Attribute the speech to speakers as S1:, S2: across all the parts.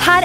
S1: her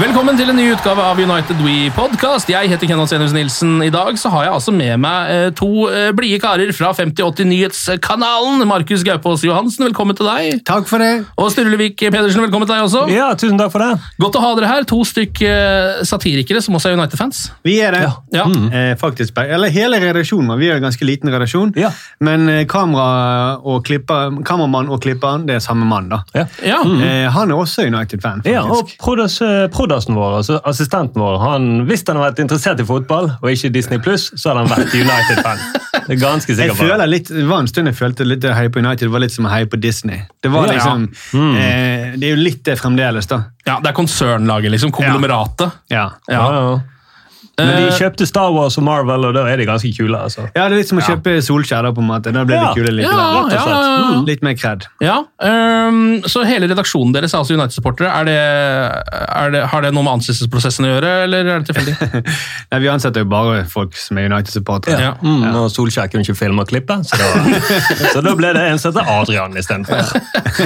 S2: Velkommen til en ny utgave av United We Podcast. Jeg heter Kenneth Senus Nilsen. I dag så har jeg altså med meg eh, to eh, blide karer fra 5080 Nyhetskanalen. Markus Gaupås Johansen, velkommen til deg.
S3: Takk for det.
S2: Og Sturlevik Pedersen, velkommen til deg også.
S4: Ja, tusen takk for det.
S2: Godt å ha dere her. To stykk eh, satirikere som også er United-fans.
S3: Vi er det.
S2: Ja.
S3: Eh, faktisk, eller hele redaksjonen vår. Vi er en ganske liten redaksjon.
S4: Ja.
S3: Men eh, kamera og klipper, kameramann og klipperen, det er samme mann, da.
S4: Ja.
S2: Ja.
S3: Eh, han er også United-fan,
S4: Ja, og
S3: faktisk.
S4: produs, produsen vår, altså assistenten vår, han, hvis han hadde vært interessert i fotball, og ikke Disney+, så hadde han vært United-fan. Det er ganske
S3: jeg
S4: sikker på.
S3: føler litt, det var en stund jeg følte litt det å heie på United var litt som å heie på Disney. Det var
S4: Ja, ja.
S3: liksom, eh, det er jo litt det fremdeles, da.
S2: ja, det er konsernlaget, liksom. Konglomeratet.
S3: Ja.
S4: Ja,
S2: Ja. Eh,
S4: ja. Eh. Men de kjøpte Star Wars og Marvel, og da er de ganske kule, altså.
S3: Ja, Det er litt som å kjøpe Solskjær, da, på en måte. Da ble
S4: Ja.
S3: det kule litt.
S2: Ja, Mm. ja, ja, ja.
S3: Litt mer cred.
S2: Ja, ehm, Så hele redaksjonen deres er altså United-supportere. Er det, er det, har det noe med ansettelsesprosessen å gjøre, eller er det tilfeldig?
S3: Nei, Vi ansetter jo bare folk som er United-supportere.
S2: Ja.
S4: Mm, og Solskjær kunne ikke filme og klippe, så da, så da ble det en som heter Adrian istedenfor.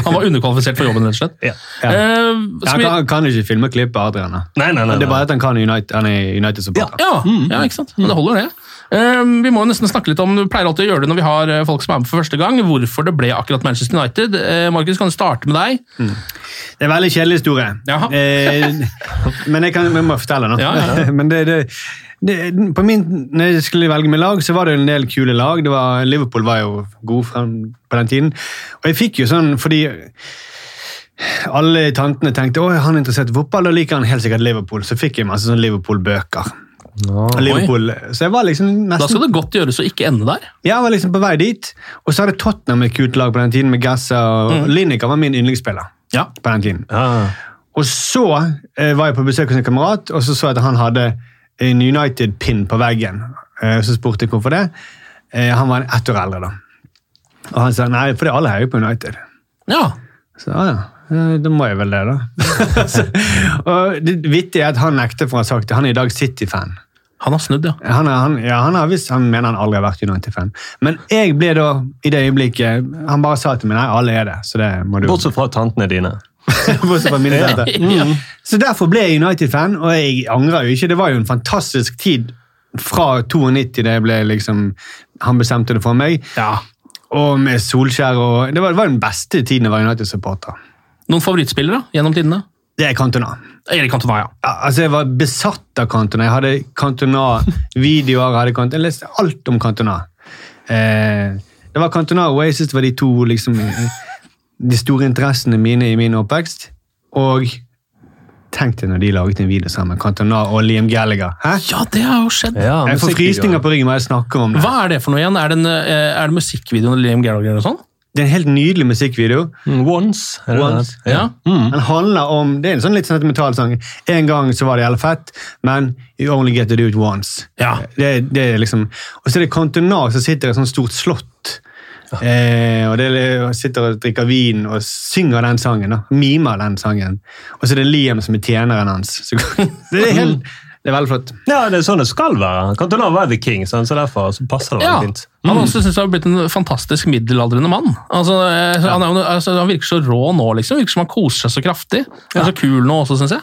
S2: Han var underkvalifisert for jobben, rett og slett.
S4: Ja.
S3: Ja.
S2: Eh, skal
S3: Han
S2: vi...
S3: kan, kan ikke filme og klippe Adrian. da.
S4: Nei, nei, nei,
S3: Det er
S4: nei.
S3: bare at han, kan United, han er United-supporter.
S2: Ja, ja, ikke sant? Men det holder, det. Eh, vi må jo nesten snakke litt om, vi pleier alltid å gjøre det når vi har eh, folk som er med for første gang, hvorfor det ble akkurat Manchester United. Eh, Markus, kan du starte med deg?
S3: Det er en veldig kjedelig historie.
S2: Jaha.
S3: Eh, men jeg kan jeg må fortelle nå.
S2: Ja, ja,
S3: men det, det, det, på min, når jeg skulle velge meg lag, så var det jo en del kule lag. Det var, Liverpool var jo god frem på den tiden. Og jeg fikk jo sånn, fordi alle tantene tenkte «Åh, han er interessert i fotball, da liker han helt sikkert Liverpool. Så fikk jeg masse sånn Liverpool-bøker. Liverpool. Så jeg var liksom
S2: Da
S3: nesten
S2: skal det godt gjøres å ikke ende der.
S3: Jeg var liksom på vei dit, og så hadde Tottenham et kult lag på den tiden med Gassa. og Lineker var min yndlingsspiller
S2: Ja.
S3: på den tiden.
S4: Ah.
S3: Og så eh, var jeg på besøk hos en kamerat, og så så jeg at han hadde en United-pin på veggen. Eh, så spurte jeg hvorfor det. Eh, han var ett år eldre, da. Og han sa nei, fordi alle heier på United.
S2: ja.
S3: Så ja, ja. eh, Da må jeg vel det, da. så, og det vittige er at han nekter for å ha sagt det. Han er i dag City-fan.
S2: Han har snudd, ja.
S3: Han, er, han, ja, han, har visst, han mener han aldri har vært United-fan. Men jeg ble da, i det øyeblikket Han bare sa til meg nei, alle er det. Så det må du
S4: Bortsett fra tantene dine.
S3: Bortsett fra mine tante.
S2: Ja.
S3: Så derfor ble jeg United-fan, og jeg angrer jo ikke. Det var jo en fantastisk tid fra 92 det ble liksom Han bestemte det for meg.
S2: Ja.
S3: Og med Solskjær og Det var, det var den beste tiden jeg var United-supporter.
S2: Noen favorittspillere gjennom tidene?
S3: Det er Cantona.
S2: Erik Cantona, ja.
S3: Ja, altså Jeg var besatt av Cantona. Jeg hadde Cantona-videoer. hadde Cantona. Jeg leste alt om Cantona. Eh, det var Cantona og Oasis det var de to liksom, eh, de store interessene mine i min oppvekst. Og tenk deg når de laget en video sammen. Cantona og Liam Gallagher. Hæ?
S2: Ja, det har jo skjedd.
S4: Ja,
S3: Jeg får frysninger på ryggen når jeg snakker om det.
S2: Hva er det for noe igjen? Er det, en, eh, er det musikkvideoen til Liam Gallagher og sånn?
S3: Det er en helt nydelig musikkvideo.
S4: Mm, Once. er det
S3: Once.
S4: det? Ja.
S3: Den handler om, Det er en sånn litt sentimental sang. En gang så var det jævlig fett, men you only get to do it once.
S2: Ja.
S3: Det, det er liksom, og så er det Cantona som sitter i et sånt stort slott. Eh, og det er- og sitter og drikker vin og synger den sangen. Da. Mimer den sangen. Og så er det Liam som er tjeneren hans. Så, det, er helt,
S4: Mm.
S3: det er veldig flott.
S4: Ja, det er sånn det skal være. Cantona var the king, sånn, så derfor så passer det
S2: Ja,
S4: veldig
S2: han
S4: fint.
S2: har også synes han har blitt en fantastisk middelaldrende mann. Altså, eh, han, er, jo- altså, han virker så rå nå, liksom. Virker som han koser seg så kraftig. Han er så kul nå også, synes jeg.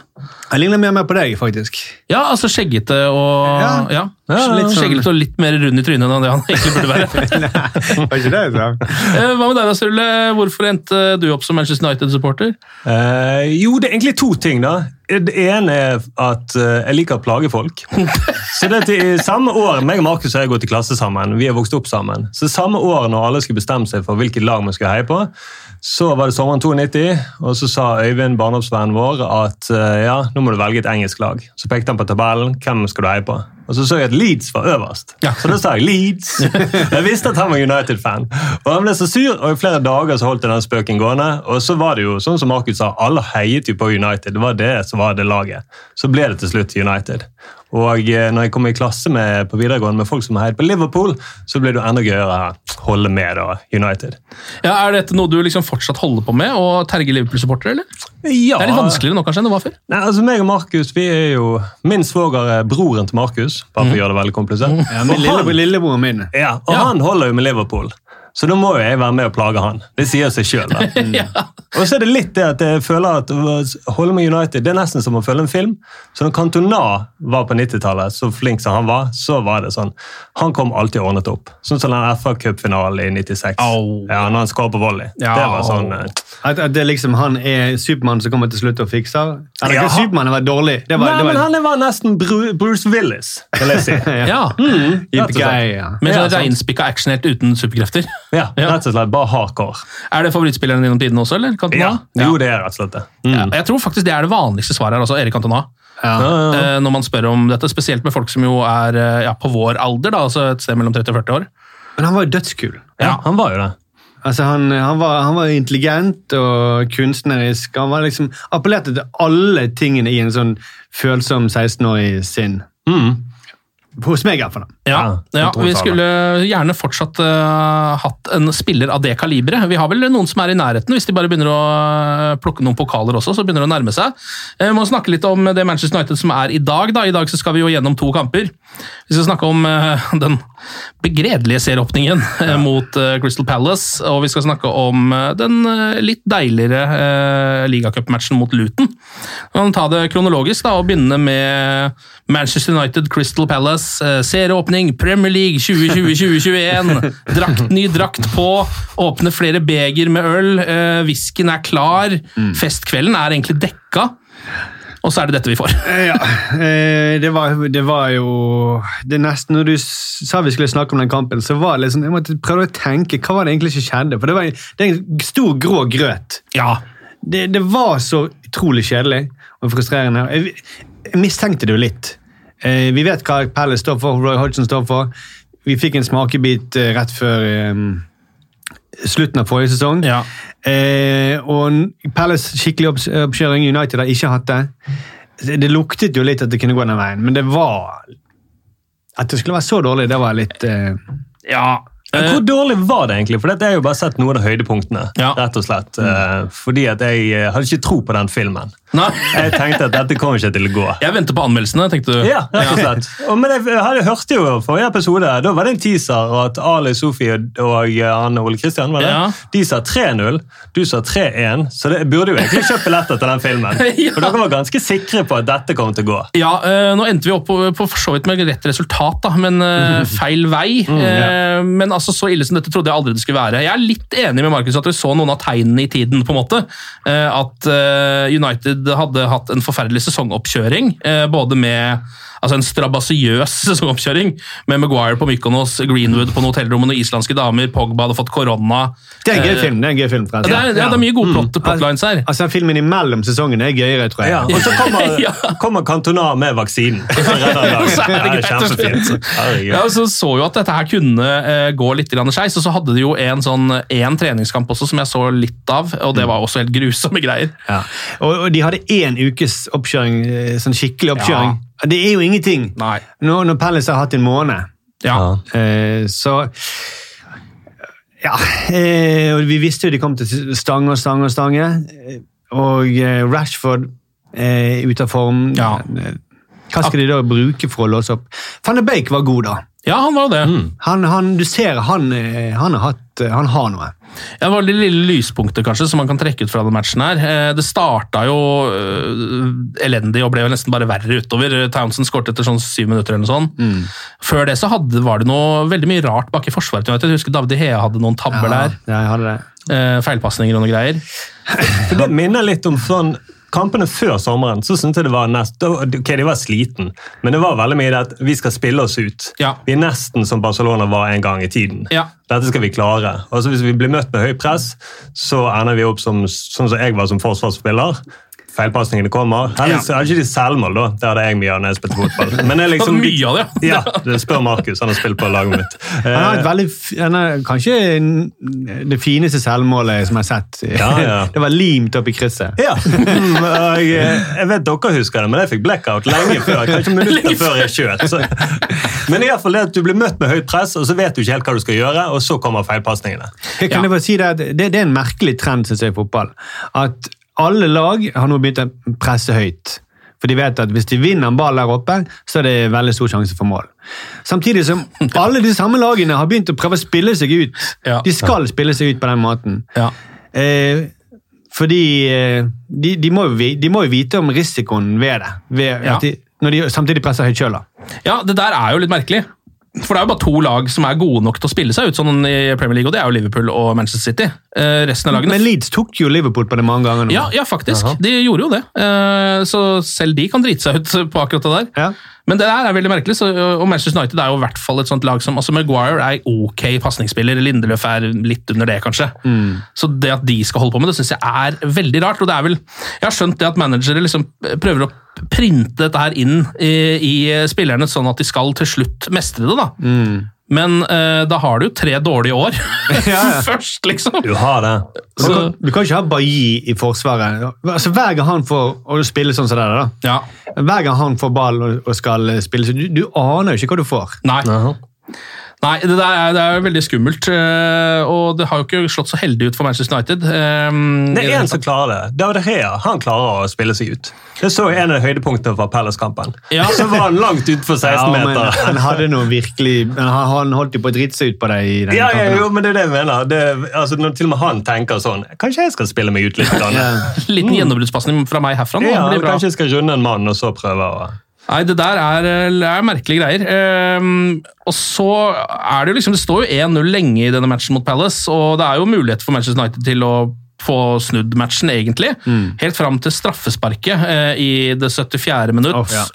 S3: Jeg ligner mer og mer på deg, faktisk.
S2: Ja, altså skjeggete og ja.
S3: Ja. Ja, ja,
S2: litt
S3: sånn.
S2: skjeggete og litt mer rund i trynet enn det han egentlig burde være.
S3: Nei, var ikke det jeg sa?
S2: Eh, Hva med deg, da, Sturle? Hvorfor endte du opp som Manchester United-supporter?
S4: Eh, jo, det er egentlig to ting, da. Det ene er at eh, jeg liker å plage folk. Så det er til, i samme år, meg og Markus har gått i klasse sammen. Vi har vokst opp sammen. Så samme år når alle skulle bestemme seg for hvilket lag man skulle heie på, så var det sommeren 92, og så sa Øyvind, barndomsvennen vår, at eh, ja, nå må du velge et engelsk lag. Så pekte han på tabellen. Hvem skal du heie på? Og så så jeg at Leeds var øverst. Så da sa jeg Leeds. Jeg visste at han var United-fan. Og han ble så sur, og i flere dager så holdt jeg den spøken gående. Og så var det jo, sånn som Markus sa, alle heiet jo på United. Det var det som var det laget. Så ble det til slutt United. Og eh, når jeg kom i klasse med, på videregående med folk som heiet på Liverpool, så ble det jo enda gøyere å holde med da, United.
S2: Ja, Er dette noe du liksom fortsatt holder på med, å terge Liverpool-supportere? eller?
S4: Ja.
S2: Det er litt vanskeligere nå kanskje enn det var før.
S4: Nei, altså meg og Markus, vi er jo Min svoger er broren til Markus, bare
S2: Mhm.
S4: for å gjøre det veldig komplisert.
S3: Ja, men
S4: Og han-
S3: lille, lillebroren min.
S4: Ja, og han holder jo med Liverpool. Så da må jo jeg være med og plage han. Det sier seg sjøl. Og så er det litt det at jeg føler at å holde med United det er nesten som å følge en film. Så når Cantona var på 90-tallet, så flink som han var, så var det sånn. Han kom alltid ordnet opp. Sånn som den FA-cupfinalen i 96.
S2: Au.
S4: Ja, når han skåret på volley.
S2: Ja.
S4: Det var sånn eh,
S3: At, at det liksom han er Supermann som kommer til slutt og fikser. Eller
S4: Ja,
S3: ikke
S4: han-
S3: Supermann, det var dårlig. Det var,
S4: Nei,
S3: det
S4: men
S3: var,
S4: han var nesten Bru- Bruce Willis, vil jeg si.
S2: Ja,
S3: Yippee-ki-yay, ja.
S2: Med
S4: Mm. Ja,
S2: sånn
S4: sant.
S2: reinspikka actionhelt uten superkrefter.
S4: Ja, rett og slett bare hardcore.
S2: Er det favorittspilleren gjennom tidene også? eller? Cantona?
S4: Ja, jo, det er rett og slett det.
S2: Ja, Jeg tror faktisk det er det vanligste svaret her, altså Erik Cantona. Eh, Når man spør om dette, spesielt med folk som jo er eh, ja, på vår alder, da, altså et sted mellom 30 og 40 år.
S3: Men han var jo dødskul.
S4: Ja, han var jo det.
S3: Altså, han, han, var, han var intelligent og kunstnerisk. Han var liksom, appellerte til alle tingene i en sånn følsom 16-årig sinn. Hos meg, i hvert fall.
S2: Ja,
S4: Ja,
S2: ja,
S4: jeg tror
S2: Vi
S4: han sa det.
S2: skulle gjerne fortsatt eh, hatt en spiller av det kaliberet. Vi har vel noen som er i nærheten, hvis de bare begynner å eh, plukke noen pokaler også. så begynner det å nærme seg. Eh, Vi må snakke litt om det Manchester United som er i dag. da. I dag så skal vi jo gjennom to kamper. Vi skal snakke om eh, den begredelige serieåpningen eh, mot eh, Crystal Palace, og vi skal snakke om eh, den eh, litt deiligere eh, ligacupmatchen mot Luton. Vi kan ta det kronologisk da, og begynne med Manchester United, Crystal Palace, eh, serieåpning, Premier League 2020-2021. Drakt, ny drakt på, åpne flere beger med øl, eh, whiskyen er klar,
S4: Mm.
S2: festkvelden er egentlig dekka, og så er det dette vi får.
S3: Eh, Ja, eh, det var, det var jo det er nesten, Når du s- sa vi skulle snakke om den kampen, så var det liksom, jeg måtte prøve å tenke hva var det egentlig som skjedde. For det, var, det er en stor, grå grøt.
S2: Ja,
S3: Det, det var så utrolig kjedelig og frustrerende. Jeg, jeg mistenkte det jo litt. Eh, vi vet hva Palace står for, Roy Hodgson står for. Vi fikk en smakebit eh, rett før eh, slutten av forrige sesong.
S2: Ja.
S3: Eh, og n- Palace skikkelig opps- oppkjøring. United har ikke hatt det. Det det luktet jo litt at det kunne gå den veien, men det var At det skulle være så dårlig, det var litt eh,
S2: ja.
S4: Men hvor dårlig var det egentlig? For dette er jo bare sett noen av høydepunktene.
S2: Eh, Ja.
S4: rett og slett. Eh, Fordi at jeg eh, hadde ikke tro på den filmen.
S2: Nei,
S4: Jeg tenkte at dette kommer ikke til å gå.
S2: jeg venter på anmeldelsene, tenkte du.
S4: Ja, rett og slett. Og, men jeg, hadde, hørte jo forrige episode, da var det en teaser og at Ali, Sofie og, og eh, han Ole Kristian var det.
S2: Ja.
S4: De sa 3-0, du sa 3-1, så det jeg burde jo egentlig kjøpt billetter til den filmen.
S2: Ja.
S4: For dere var ganske sikre på at dette kom til å gå.
S2: Ja, eh, nå endte vi opp på, på for så vidt med rett resultat, da, men
S3: Mhm.
S2: eh, feil vei.
S3: Mm,
S2: Eh, men altså, så ille som dette trodde jeg aldri det skulle være. Jeg er litt enig med Markus at vi så noen av tegnene i tiden. på en måte. Eh, at eh, United hadde hatt en forferdelig sesongoppkjøring. eh, både med altså en strabasiøs sesongoppkjøring, med Maguire på Mykonos, Greenwood på noen hotellrom og noen islandske damer, Pogba hadde fått korona. Eh,
S3: Det er en gøy film. det er en gøy film,
S2: Ja, det, er, ja, det er mye gode plot, plotlines her.
S3: Altså, Filmen imellom sesongene er gøyere, tror jeg.
S4: Ja, og så kommer,
S2: Ja.
S4: kommer Cantona med vaksinen. Så redder han dagen.
S2: Så er det
S4: Ja,
S2: greit å spille.
S4: kjempefint. Herregud.
S2: Ja, og så så jo at dette her kunne eh, gå litt grann skeis, og så hadde de jo en, sånn, en treningskamp også som jeg så litt av, og det var også helt grusomme greier.
S3: Mm. Ja. Og, og de hadde én ukes oppkjøring, eh, sånn skikkelig oppkjøring. Det er jo ingenting
S2: Nei.
S3: Nå, når Palace har hatt en måned.
S2: Ja.
S3: Eh, så eh, Ja, eh, og vi visste jo de kom til stange og stange og stange. eh, Og eh, Rashford eh, ute av form.
S2: Ja.
S3: Eh, Hva skal de da bruke for å låse opp? Van de Beek var god, da.
S2: Ja, han var jo det.
S3: Han, han, du ser han, eh, han, har hatt, eh, han har noe.
S2: Ja, det var det lille lyspunktet kanskje, som man kan trekke ut fra den matchen. her. Eh, Det starta jo eh, elendig og ble vel nesten bare verre utover. Townsend skåret etter sånn syv minutter. eller noe sånt.
S3: Mm.
S2: Før det så hadde, var det noe veldig mye rart bak i forsvaret. til United. Jeg husker David Hea hadde noen tabber der.
S3: Ja, jeg hadde det.
S2: Eh, Feilpasninger og noen greier.
S4: For Det minner litt om sånn Kampene før sommeren så syntes jeg det var nest, da- ok, de var sliten, men det var veldig mye det at vi skal spille oss ut.
S2: Ja.
S4: Vi er nesten som Barcelona var en gang i tiden.
S2: Ja.
S4: Dette skal vi klare. Altså Hvis vi blir møtt med høy press, så ender vi opp som, sånn som jeg var som forsvarsspiller. Feilpasningene kommer. Heldigvis er det ikke de selvmål, da. Det hadde jeg mye av når jeg spilte fotball. Men jeg liksom
S2: Det var mye av det, ja.
S4: ja. det Spør Markus, han har spilt på laget mitt.
S3: Han har
S4: Eh,
S3: et veldig, f- han har kanskje en- det fineste selvmålet som jeg har sett.
S4: Ja, ja.
S3: Det var limt opp i krysset.
S4: Ja. Mm, og jeg, jeg vet dere husker det, men jeg fikk blackout lenge før. Kanskje minutter før jeg kjøt. Så. Men i hvert fall det at du blir møtt med høyt press, og så vet du ikke helt hva du skal gjøre, og så kommer feilpasningene.
S3: Jeg kan
S2: Ja.
S3: jeg bare si det, at det, det er en merkelig trend synes jeg, i fotball. At alle lag har nå begynt å presse høyt. For de vet at hvis de vinner en ball der oppe, så er det veldig stor sjanse for mål. Samtidig som alle de samme lagene har begynt å prøve å spille seg ut.
S2: Ja.
S3: De skal spille seg ut på den måten.
S2: Ja.
S3: Eh, fordi eh, de, de, må jo, vi- de må jo vite om risikoen ved det. Ved
S2: Ja.
S3: at de, når de samtidig presser høyt sjøl, da.
S2: Ja, det der er jo litt merkelig. For det er jo bare to lag som er gode nok til å spille seg ut sånn i Premier League, og det er jo Liverpool og Manchester City. Eh, resten av lagene
S3: Men Leeds tok jo Liverpool på det mange ganger nå.
S2: ja, ja, faktisk. De gjorde jo det. Eh, Så selv de kan drite seg ut på akkurat det der.
S3: Ja.
S2: Men det der er veldig merkelig, så, og Manchester United er jo i hvert fall et sånt lag som altså Maguire er ok pasningsspiller, Lindeløf er litt under det, kanskje.
S3: Mm.
S2: Så det at de skal holde på med det, syns jeg er veldig rart. og det er vel, Jeg har skjønt det at managere liksom prøver å printe dette her inn i, i spillerne, sånn at de skal til slutt mestre det. da. Men eh, da har du jo tre dårlige år
S3: Mm. ja.
S2: først, liksom.
S4: Du har det.
S3: Du
S2: Så,
S3: kan, du kan ikke ha Bailly i forsvaret. Altså, hver gang han får og spille sånn som det der, da.
S2: ja.
S3: Hver gang han får ball og, og skal spille, så du, du aner jo ikke hva du får.
S2: Nei. Nei, det der er, det er jo veldig skummelt. eh, Og det har jo ikke slått så heldig ut for Manchester United. eh,
S4: Det
S2: i
S4: er én
S2: hele
S4: som
S2: tatt.
S4: klarer det. David Rea han klarer å spille seg ut. Det så jeg en av høydepunktene fra Palace-kampen.
S2: Ja.
S4: Så var han langt utenfor 16
S3: men han
S4: meter.
S3: hadde noe virkelig men han, han holdt jo på å drite seg ut på deg i den
S4: Ja, ja,
S3: kampen.
S4: jo, men det er det jeg mener. Det, altså, når til og med han tenker sånn Kanskje jeg skal spille meg ut litt? Grann.
S2: Liten gjennombruddspasning fra meg herfra. nå,
S4: Mm. Ja,
S2: det blir bra.
S4: kanskje jeg skal runde en mann, og så prøve å
S2: Nei, det der er, er merkelige greier. Ehm, og så er det jo liksom Det står jo 1-0 lenge i denne matchen mot Palace, og det er jo mulighet for Manchester United til å få snudd matchen, egentlig.
S4: Mm.
S2: Helt fram til straffesparket eh, i det 74. minutt.
S3: Uff, ja.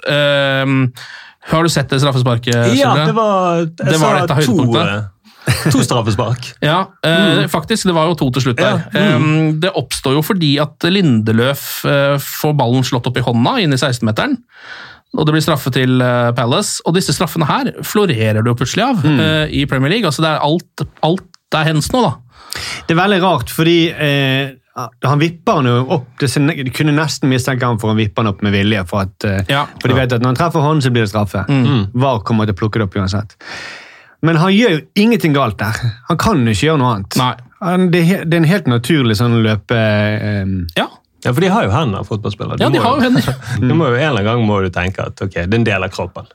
S2: Ehm, har du sett det straffesparket?
S4: Ja,
S2: Sindre?
S4: Eh, det var, jeg
S2: Det var et
S4: sa
S2: av
S4: to,
S2: høydepunktene.
S4: eh, to straffespark.
S2: Ja, eh,
S3: Mm.
S2: faktisk. Det var jo to til slutt der. Eh, det oppstår jo fordi at Lindeløf eh, får ballen slått opp i hånda inn i 16-meteren. Og det blir straffe til eh, Palace. Og disse straffene her florerer det jo plutselig av
S3: Mm.
S2: eh, i Premier League. Altså det er alt, alt er hens nå, da.
S3: Det er veldig rart, fordi eh, han vipper han jo opp. Det ser, du kunne nesten mistenke han for å vippe han opp med vilje, for, at, eh,
S2: Ja. Mm.
S3: for de vet at når han treffer hånden, så blir det straffe. VAR kommer til å plukke det opp uansett. Men han gjør jo ingenting galt der. Han kan jo ikke gjøre noe annet.
S2: Nei.
S3: Han, det, er he- det er en helt naturlig sånn løpe... Eh,
S2: Ja,
S4: Ja, for de har jo hender, fotballspillere. Du
S2: ja de
S4: må
S2: har jo
S4: jo-
S2: hender.
S4: Du må jo en eller annen gang må du tenke at ok, det er en del av kroppen.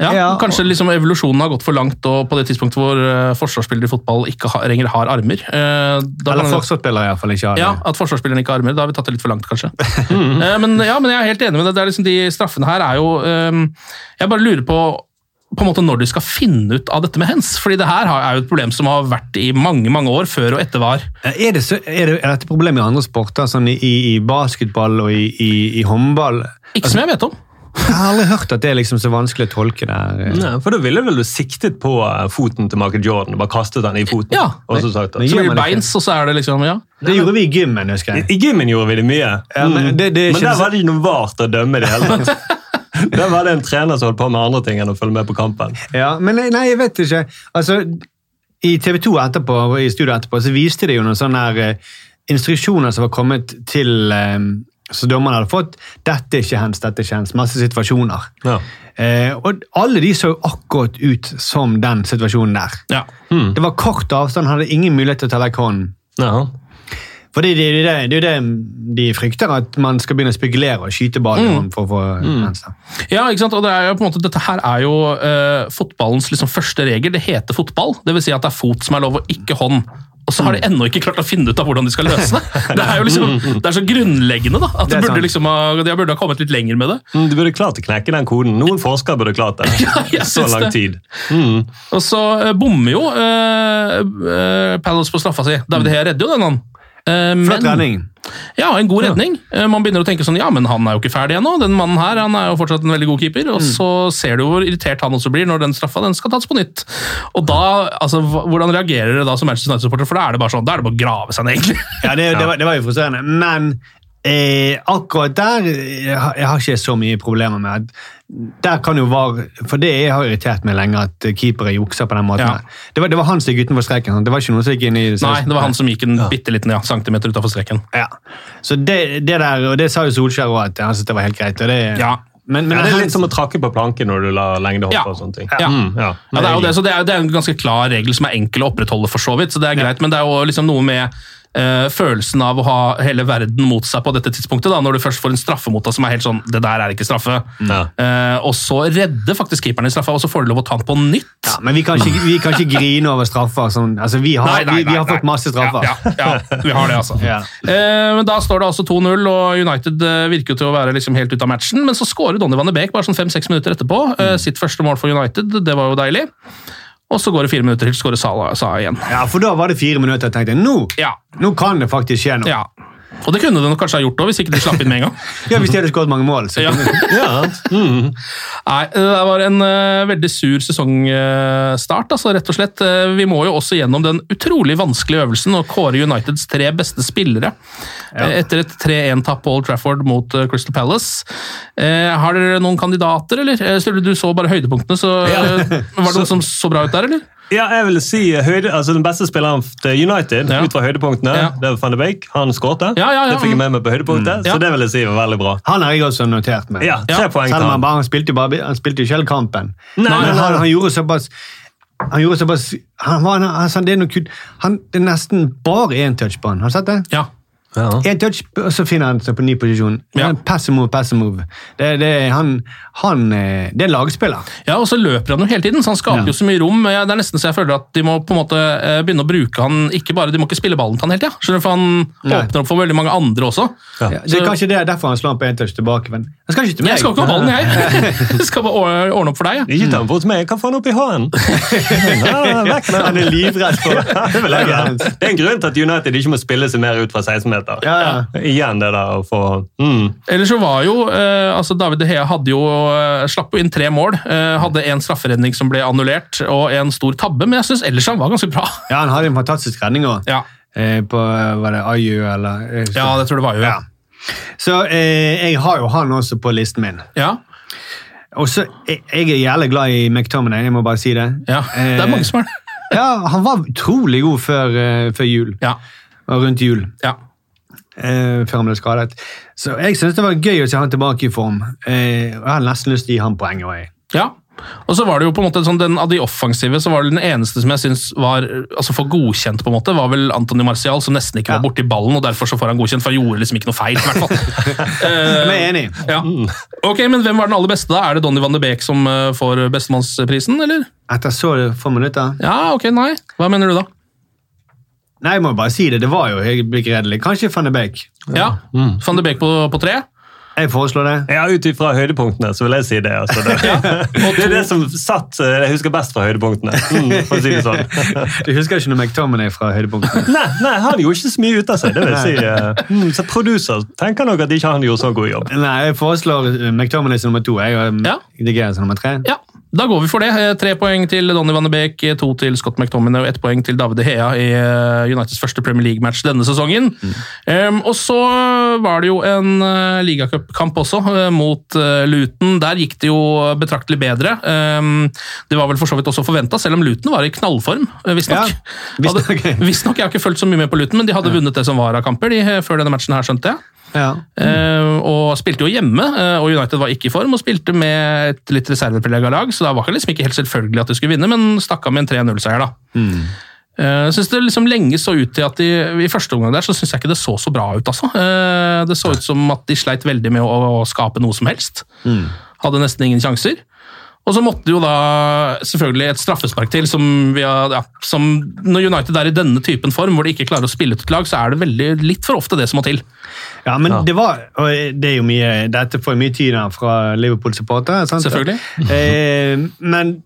S2: Ja,
S3: Ja, og-
S2: kanskje liksom evolusjonen har gått for langt, og på det tidspunktet hvor eh, forsvarsspillere i fotball ikke har, lenger har armer eh, da kan
S3: eller
S2: det-
S3: forsvarsspiller i hvert fall ikke har det.
S2: Ja, At forsvarsspilleren ikke har armer. Da har vi tatt det litt for langt, kanskje. Eh, men, ja, men jeg er helt enig med deg. Det er liksom, de straffene her er jo ehm, Jeg bare lurer på på en måte når de skal finne ut av dette med hens. Fordi det her har- er jo et problem som har vært i mange mange år før og etter var.
S3: Er, det så, er, det, er dette problemet i andre sporter, sånn i, i basketball og i, i, i håndball?
S2: Ikke som jeg vet om.
S3: Jeg har aldri hørt at det er liksom så vanskelig å tolke der. eh.
S4: Nei, for da ville vel du siktet på eh, foten til Michael Jordan og bare kastet den i foten?
S2: Ja.
S4: og så sagt at,
S3: Men-
S2: Så
S3: gjør
S2: blir
S3: man
S2: det
S3: ikke.
S2: beins, og så er det liksom Ja.
S3: Det gjorde vi i gymmen, husker jeg.
S4: I gymmen gjorde vi det mye, Mm.
S3: Ja, Mm. men det- det er
S4: men
S3: ikke-
S4: der var det ikke noe vart å dømme i det hele tatt. Der var det en trener som holdt på med andre ting enn å følge med på kampen.
S3: Ja, men nei, nei, jeg vet ikke. Altså, I TV 2 etterpå, og i studio etterpå så viste de jo noen sånne her, eh, instruksjoner som var kommet til eh, Så dommerne hadde fått 'dette er ikke hands, dette er ikke hands'. Masse situasjoner.
S4: Ja.
S3: Eh, og alle de så akkurat ut som den situasjonen der.
S2: Ja.
S3: Det var kort avstand, hadde ingen mulighet til å ta vekk hånden.
S4: Ja.
S3: For det, det, det, det er jo det de frykter, at man skal begynne å spekulere og skyte ballen for å få hands. da.
S2: Ja, ikke sant? Og det er jo på en måte, dette her er jo eh, fotballens liksom første regel. Det heter fotball. Det vil si at det er fot som er lov, og ikke hånd. Og så har de ennå ikke klart å finne ut av hvordan de skal løse det. Det er jo liksom, det er så grunnleggende da, at
S3: Det
S2: det
S3: er
S2: burde
S3: sant.
S2: liksom ha, de burde ha kommet litt lenger med det.
S4: Mm, Du burde klart å knekke den koden. Noen forskere burde klart det.
S2: jeg
S4: så
S2: syns
S4: lang
S2: det.
S4: tid.
S2: Og så eh, bommer jo eh, eh, Palace på straffa si. David Hea redder jo den, han. Eh,
S3: Mm. Flott
S2: men-
S3: redning.
S2: Ja, en god redning. Eh, Man begynner å tenke sånn, ja, men han er jo ikke ferdig ennå. Den mannen her han er jo fortsatt en veldig god keeper. Og
S3: Mm.
S2: så ser du hvor irritert han også blir når den straffa den skal tas på nytt. Og da, altså, hva- Hvordan reagerer dere da som Manchester United-supporter? For da er det bare sånn, da er det bare å grave seg ned, egentlig.
S3: Ja, det, det, var, det var jo frustrerende. Men eh, akkurat der eh, jeg har jeg har ikke så mye problemer med at der kan jo VAR For det jeg har irritert meg lenge, at keepere jukser på den måten.
S2: Ja.
S3: der. Det, var, det var han som gikk utenfor streken. sant? Det var ikke noen som gikk inn i
S2: Nei, det var han som gikk en bitte liten ja, centimeter utafor streken.
S3: Ja. Så det, det der, og det sa jo Solskjær òg, at han syntes det var helt greit. Og det,
S2: Ja.
S3: Men, men
S4: Ja, det er litt
S3: han,
S4: som
S2: sånn-
S4: å trakke på planken når du lar lengdehopp
S2: Ja.
S4: og sånne ting.
S2: Ja.
S4: Mm, ja.
S2: Ja, det er jo det, så det er, det er en ganske klar regel som er enkel å opprettholde, for så vidt. så det er greit, Men det er jo liksom noe med eh, følelsen av å ha hele verden mot seg på dette tidspunktet, da, når du først får en straffe mot deg som er helt sånn Det der er ikke straffe.
S4: Ja.
S2: Eh, og så redder faktisk keeperen i straffa, og så får du lov å ta den på nytt.
S3: ja, men vi kan, ikke, vi kan ikke grine over straffer. Sånn. Altså, vi, har, vi, vi har fått masse straffer.
S2: Ja, ja, ja, vi har det, altså.
S3: Ja.
S2: Eh, men Da står det altså 2-0, og United eh, virker jo til å være liksom helt ute av matchen. Men så skårer Donny van de Beek bare sånn fem-seks minutter etterpå. eh,
S3: Mm.
S2: Sitt første mål for United, det var jo deilig. Og så går det fire minutter til, så skårer Salah Salah igjen.
S3: Ja, for da var det fire minutter. Jeg tenkte nå,
S2: Ja.
S3: nå kan det faktisk skje noe.
S2: ja. Og det kunne de nok kanskje ha gjort òg, hvis ikke de slapp inn med en gang.
S3: Ja, Hvis de hadde skåret mange mål. Så
S2: Ja.
S4: Ja. Mm.
S2: Nei, det var en eh, veldig sur sesongstart, altså, rett og slett. Eh, vi må jo også gjennom den utrolig vanskelige øvelsen å kåre Uniteds tre beste spillere. Eh, etter et 3-1-tap på Old Trafford mot eh, Crystal Palace. Eh, har dere noen kandidater, eller? Eh, Sturle, du så bare høydepunktene, så eh, var det noen som så bra ut der, eller?
S4: ja, jeg vil si eh, høyde, altså Den beste spilleren til United
S2: Ja.
S4: ut fra høydepunktene,
S2: Ja.
S4: det var van de Beek. Han skårte.
S2: Ja, ja, ja.
S4: Det fikk jeg med meg på høydepunktet,
S2: Ja.
S4: så det vil jeg si var veldig bra.
S3: Han har jeg også notert med.
S4: Ja, tre
S2: Ja.
S4: poeng
S3: Selv
S4: til
S3: om han,
S4: han.
S3: bare, han spilte jo bare- han spilte jo ikke hele kampen.
S4: Nei,
S3: men
S4: nei, nei.
S3: han, han gjorde såpass han gjorde såpass han var, han, altså, det, er noe kult. han, det er nesten bare én touch på han. Har du sett det?
S2: Ja.
S4: Ja.
S3: Én touch, og så finner han seg på ny posisjon.
S2: Ja.
S3: Han, pass and move, pass and move. Det, det, han, han, eh, det er lagspiller.
S2: Ja, og så løper han jo hele tiden, så han skaper jo så mye rom. Ja, Det er nesten så jeg føler at de må på en måte eh, begynne å bruke han, ikke bare, de må ikke spille ballen til han hele tida. Skjønner du, for han
S3: Nei.
S2: åpner opp for veldig mange andre også.
S4: Ja.
S3: Det er
S2: Så-
S3: kanskje det er derfor han slår han på én touch tilbake. Men han skal ikke til meg.
S2: Jeg skal ikke ha ballen, jeg. Jeg skal bare ordne- ordne opp for deg. jeg.
S4: Ikke ta den bort til meg, jeg kan få den opp i hånden. Ja, vekk med
S3: Han
S4: den.
S3: er livredd for
S4: Ja, det vil jeg gjøre. Det er en grunn til at United ikke må spille seg mer ut fra 16-meter.
S3: Ja, ja.
S4: Igjen det der å få mm.
S2: Ellers så var jo eh, altså David De Hea hadde jo, eh, slapp jo inn tre mål. Eh, hadde en strafferedning som ble annullert, og en stor tabbe, men jeg syns ellers han var ganske bra.
S3: Ja, han hadde en fantastisk redning òg.
S2: Ja,
S3: Eh, på var det Ayu eller eh,
S2: ja det tror jeg det var jo. Ja.
S3: Ja. Så eh, jeg har jo han også på listen min.
S2: Ja.
S3: Og så, jeg, jeg er jævlig glad i McTominay, jeg må bare si det.
S2: Det er mange som er det.
S3: Eh, ja, han var utrolig god før, eh, før jul.
S2: Ja.
S3: Og rundt jul,
S2: ja.
S3: eh, før han ble skadet. Så jeg synes det var gøy å se han tilbake i form. Eh, og jeg har nesten lyst til å gi han poeng. og jeg.
S2: Ja. Og så var det jo på en måte sånn, den, Av de offensive så var det den eneste som jeg syns var altså for godkjent, på en måte, var vel Antony Martial, som nesten ikke var
S3: Ja.
S2: borti ballen, og derfor så får han godkjent, for han gjorde liksom ikke noe feil. i hvert fall. Eh,
S3: Men jeg er enig.
S2: Ja. Ok, men Hvem var den aller beste? da? Er det Donny van de Beek som eh, får bestemannsprisen, eller?
S3: Etter så få minutter
S2: Ja, ok, nei. Hva mener du da?
S3: Nei, jeg må bare si det. Det var jo helt begredelig. Kanskje Van de Beek.
S2: Ja,
S3: Mm.
S2: Van de Beek på, på tre?
S3: Jeg foreslår det.
S4: Ja, ut ifra høydepunktene, så vil jeg si det. Altså. Det, det er det som satt eh, jeg husker best fra høydepunktene. Mm, for å si det sånn.
S3: Du husker ikke noe McTominay fra høydepunktet?
S4: Nei, nei, han gjorde ikke så mye ut av seg. det vil jeg si. eh, Mm, så producer tenker nok at ikke han gjorde så god jobb.
S3: Nei, jeg foreslår eh, McTominay som nummer to. Jeg eh, og
S2: Ja.
S3: De Gea som nummer tre.
S2: Ja, da går vi for det. Eh, Tre poeng til Donny van de Beek, eh, to til Scott McTominay og ett poeng til David De Hea i eh, Uniteds første Premier League-match denne sesongen. Em, og så var det jo en eh, ligacupkamp også, eh, mot eh, Luton. Der gikk det jo betraktelig bedre. Em, det var vel for så vidt også forventa, selv om Luton var i knallform, eh, visstnok.
S3: Ja, visstnok.
S2: Hadde- visstnok. Jeg har ikke fulgt så mye med på Luton, men de hadde vunnet det som var av kamper de, eh, før denne matchen her, skjønte jeg.
S3: Ja.
S2: Eh, og spilte jo hjemme, eh, og United var ikke i form, og spilte med et litt reservepreget lag, så da var det liksom ikke helt selvfølgelig at de skulle vinne, men stakk av med en 3-0-seier, da. Eh, Jeg synes det liksom lenge så ut til at de, I første omgang der så synes jeg ikke det så så bra ut. altså. Eh, Det så ut som at de sleit veldig med å, å skape noe som helst. Hadde nesten ingen sjanser. Og så måtte de jo da selvfølgelig et straffespark til. som, vi har, ja, som Når United er i denne typen form, hvor de ikke klarer å spille ut et lag, så er det veldig, litt for ofte det som må til.
S3: Ja, men
S4: Ja.
S3: det var og det er jo mye, Dette får mye tid her fra Liverpool-supportere. sant?
S2: Selvfølgelig.
S3: Eh, men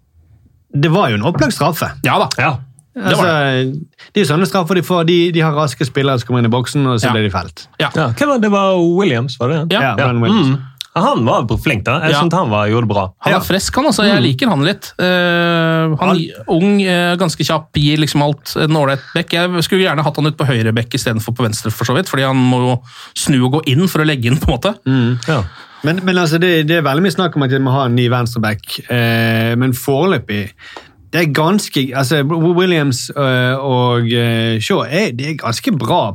S3: det var jo en opplagt straffe.
S2: Ja da,
S4: Ja.
S2: det var det.
S3: Altså, det er jo sånne straffer de får. De, de har raske spillere som kommer inn i boksen, og så
S2: Ja.
S3: blir de felt.
S2: Ja.
S4: ja. Hvem var det? det var Williams, var det?
S2: Ja.
S3: Brian Williams.
S4: Mm. Han var flink, da. Jeg
S2: Ja.
S4: syntes han var, gjorde det bra.
S2: Han er fresk, han.
S4: Mm.
S2: altså. Jeg liker han litt. Eh, han Ung, eh, ganske kjapp, gir liksom alt. En ålreit bekk. Jeg skulle gjerne hatt han ut på høyre bekk istedenfor på venstre, for så vidt, fordi han må jo snu og gå inn for å legge inn, på en måte.
S4: Mm. Ja.
S3: Men, men altså, det, det er veldig mye snakk om at de må ha en ny venstreback, eh, men foreløpig det er ganske, altså Williams eh, og eh, Shaw er, det er ganske bra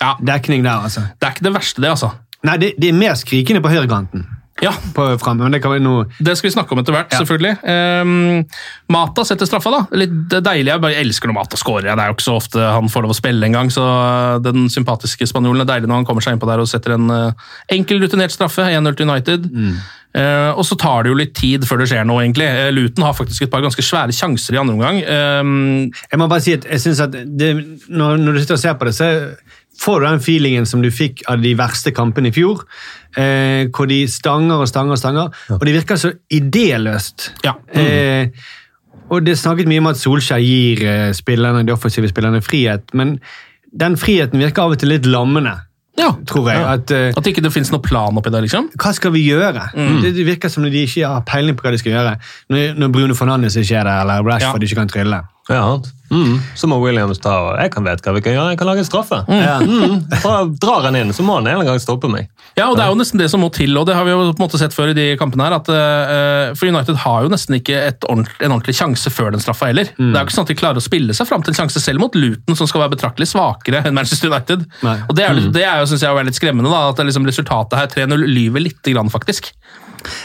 S2: Ja,
S3: dekning der. altså.
S2: Det er ikke det verste, det, altså.
S3: Nei, det, det er mer skrikende på høyrekanten.
S2: Ja,
S3: På frem, men det kan vi nå...
S2: Det skal vi snakke om etter hvert, selvfølgelig. Ehm, Mata setter straffa, da. Litt deilig. Jeg bare elsker når Mata scorer. Det er jo ikke så ofte han får lov å spille engang, så den sympatiske spanjolen er deilig når han kommer seg innpå der og setter en eh, enkel, rutinert straffe. 1-0 til United.
S3: Mm.
S2: Eh, og så tar det jo litt tid før det skjer noe, egentlig. Eh, Luton har faktisk et par ganske svære sjanser i andre omgang. Ehm,
S3: Jeg må bare si at jeg synes at det, når, når du sitter og ser på det, så får du den feelingen som du fikk av de verste kampene i fjor, eh, hvor de stanger og stanger og stanger, og det virker så idéløst.
S2: Ja. Mm.
S3: Eh, og det er snakket mye om at Solskjær gir eh, spillerne, de offensive spillerne frihet, men den friheten virker av og til litt lammende,
S2: ja.
S3: tror jeg. At, eh,
S2: At ikke det finnes noen plan oppi der, liksom.
S3: hva skal vi gjøre?
S2: Mm.
S3: Det, det virker som om de ikke har peiling på hva de skal gjøre, når, når Bruno Fernandes ikke er der, eller Rashford
S2: Ja.
S3: ikke kan trylle.
S4: Ja, mm. Så må Williams ta og Jeg kan vet hva vi kan gjøre, jeg kan lage en straffe.
S3: Ja.
S4: Mm. Dra, drar han inn, så må han en eller annen gang stoppe meg.
S2: Ja, og det er jo nesten det som må til, og det har vi jo på en måte sett før i de kampene her, at eh, for United har jo nesten ikke et ordent- en ordentlig sjanse før den straffa heller.
S4: Mm.
S2: Det er jo ikke sånn at de klarer å spille seg fram til en sjanse selv mot Luton, som skal være betraktelig svakere enn Manchester United.
S3: Nei.
S2: Og det er,
S4: Mm.
S2: jo- det er jo, synes jeg, å være litt skremmende, da, at det liksom resultatet her, 3-0, lyver lite grann, faktisk.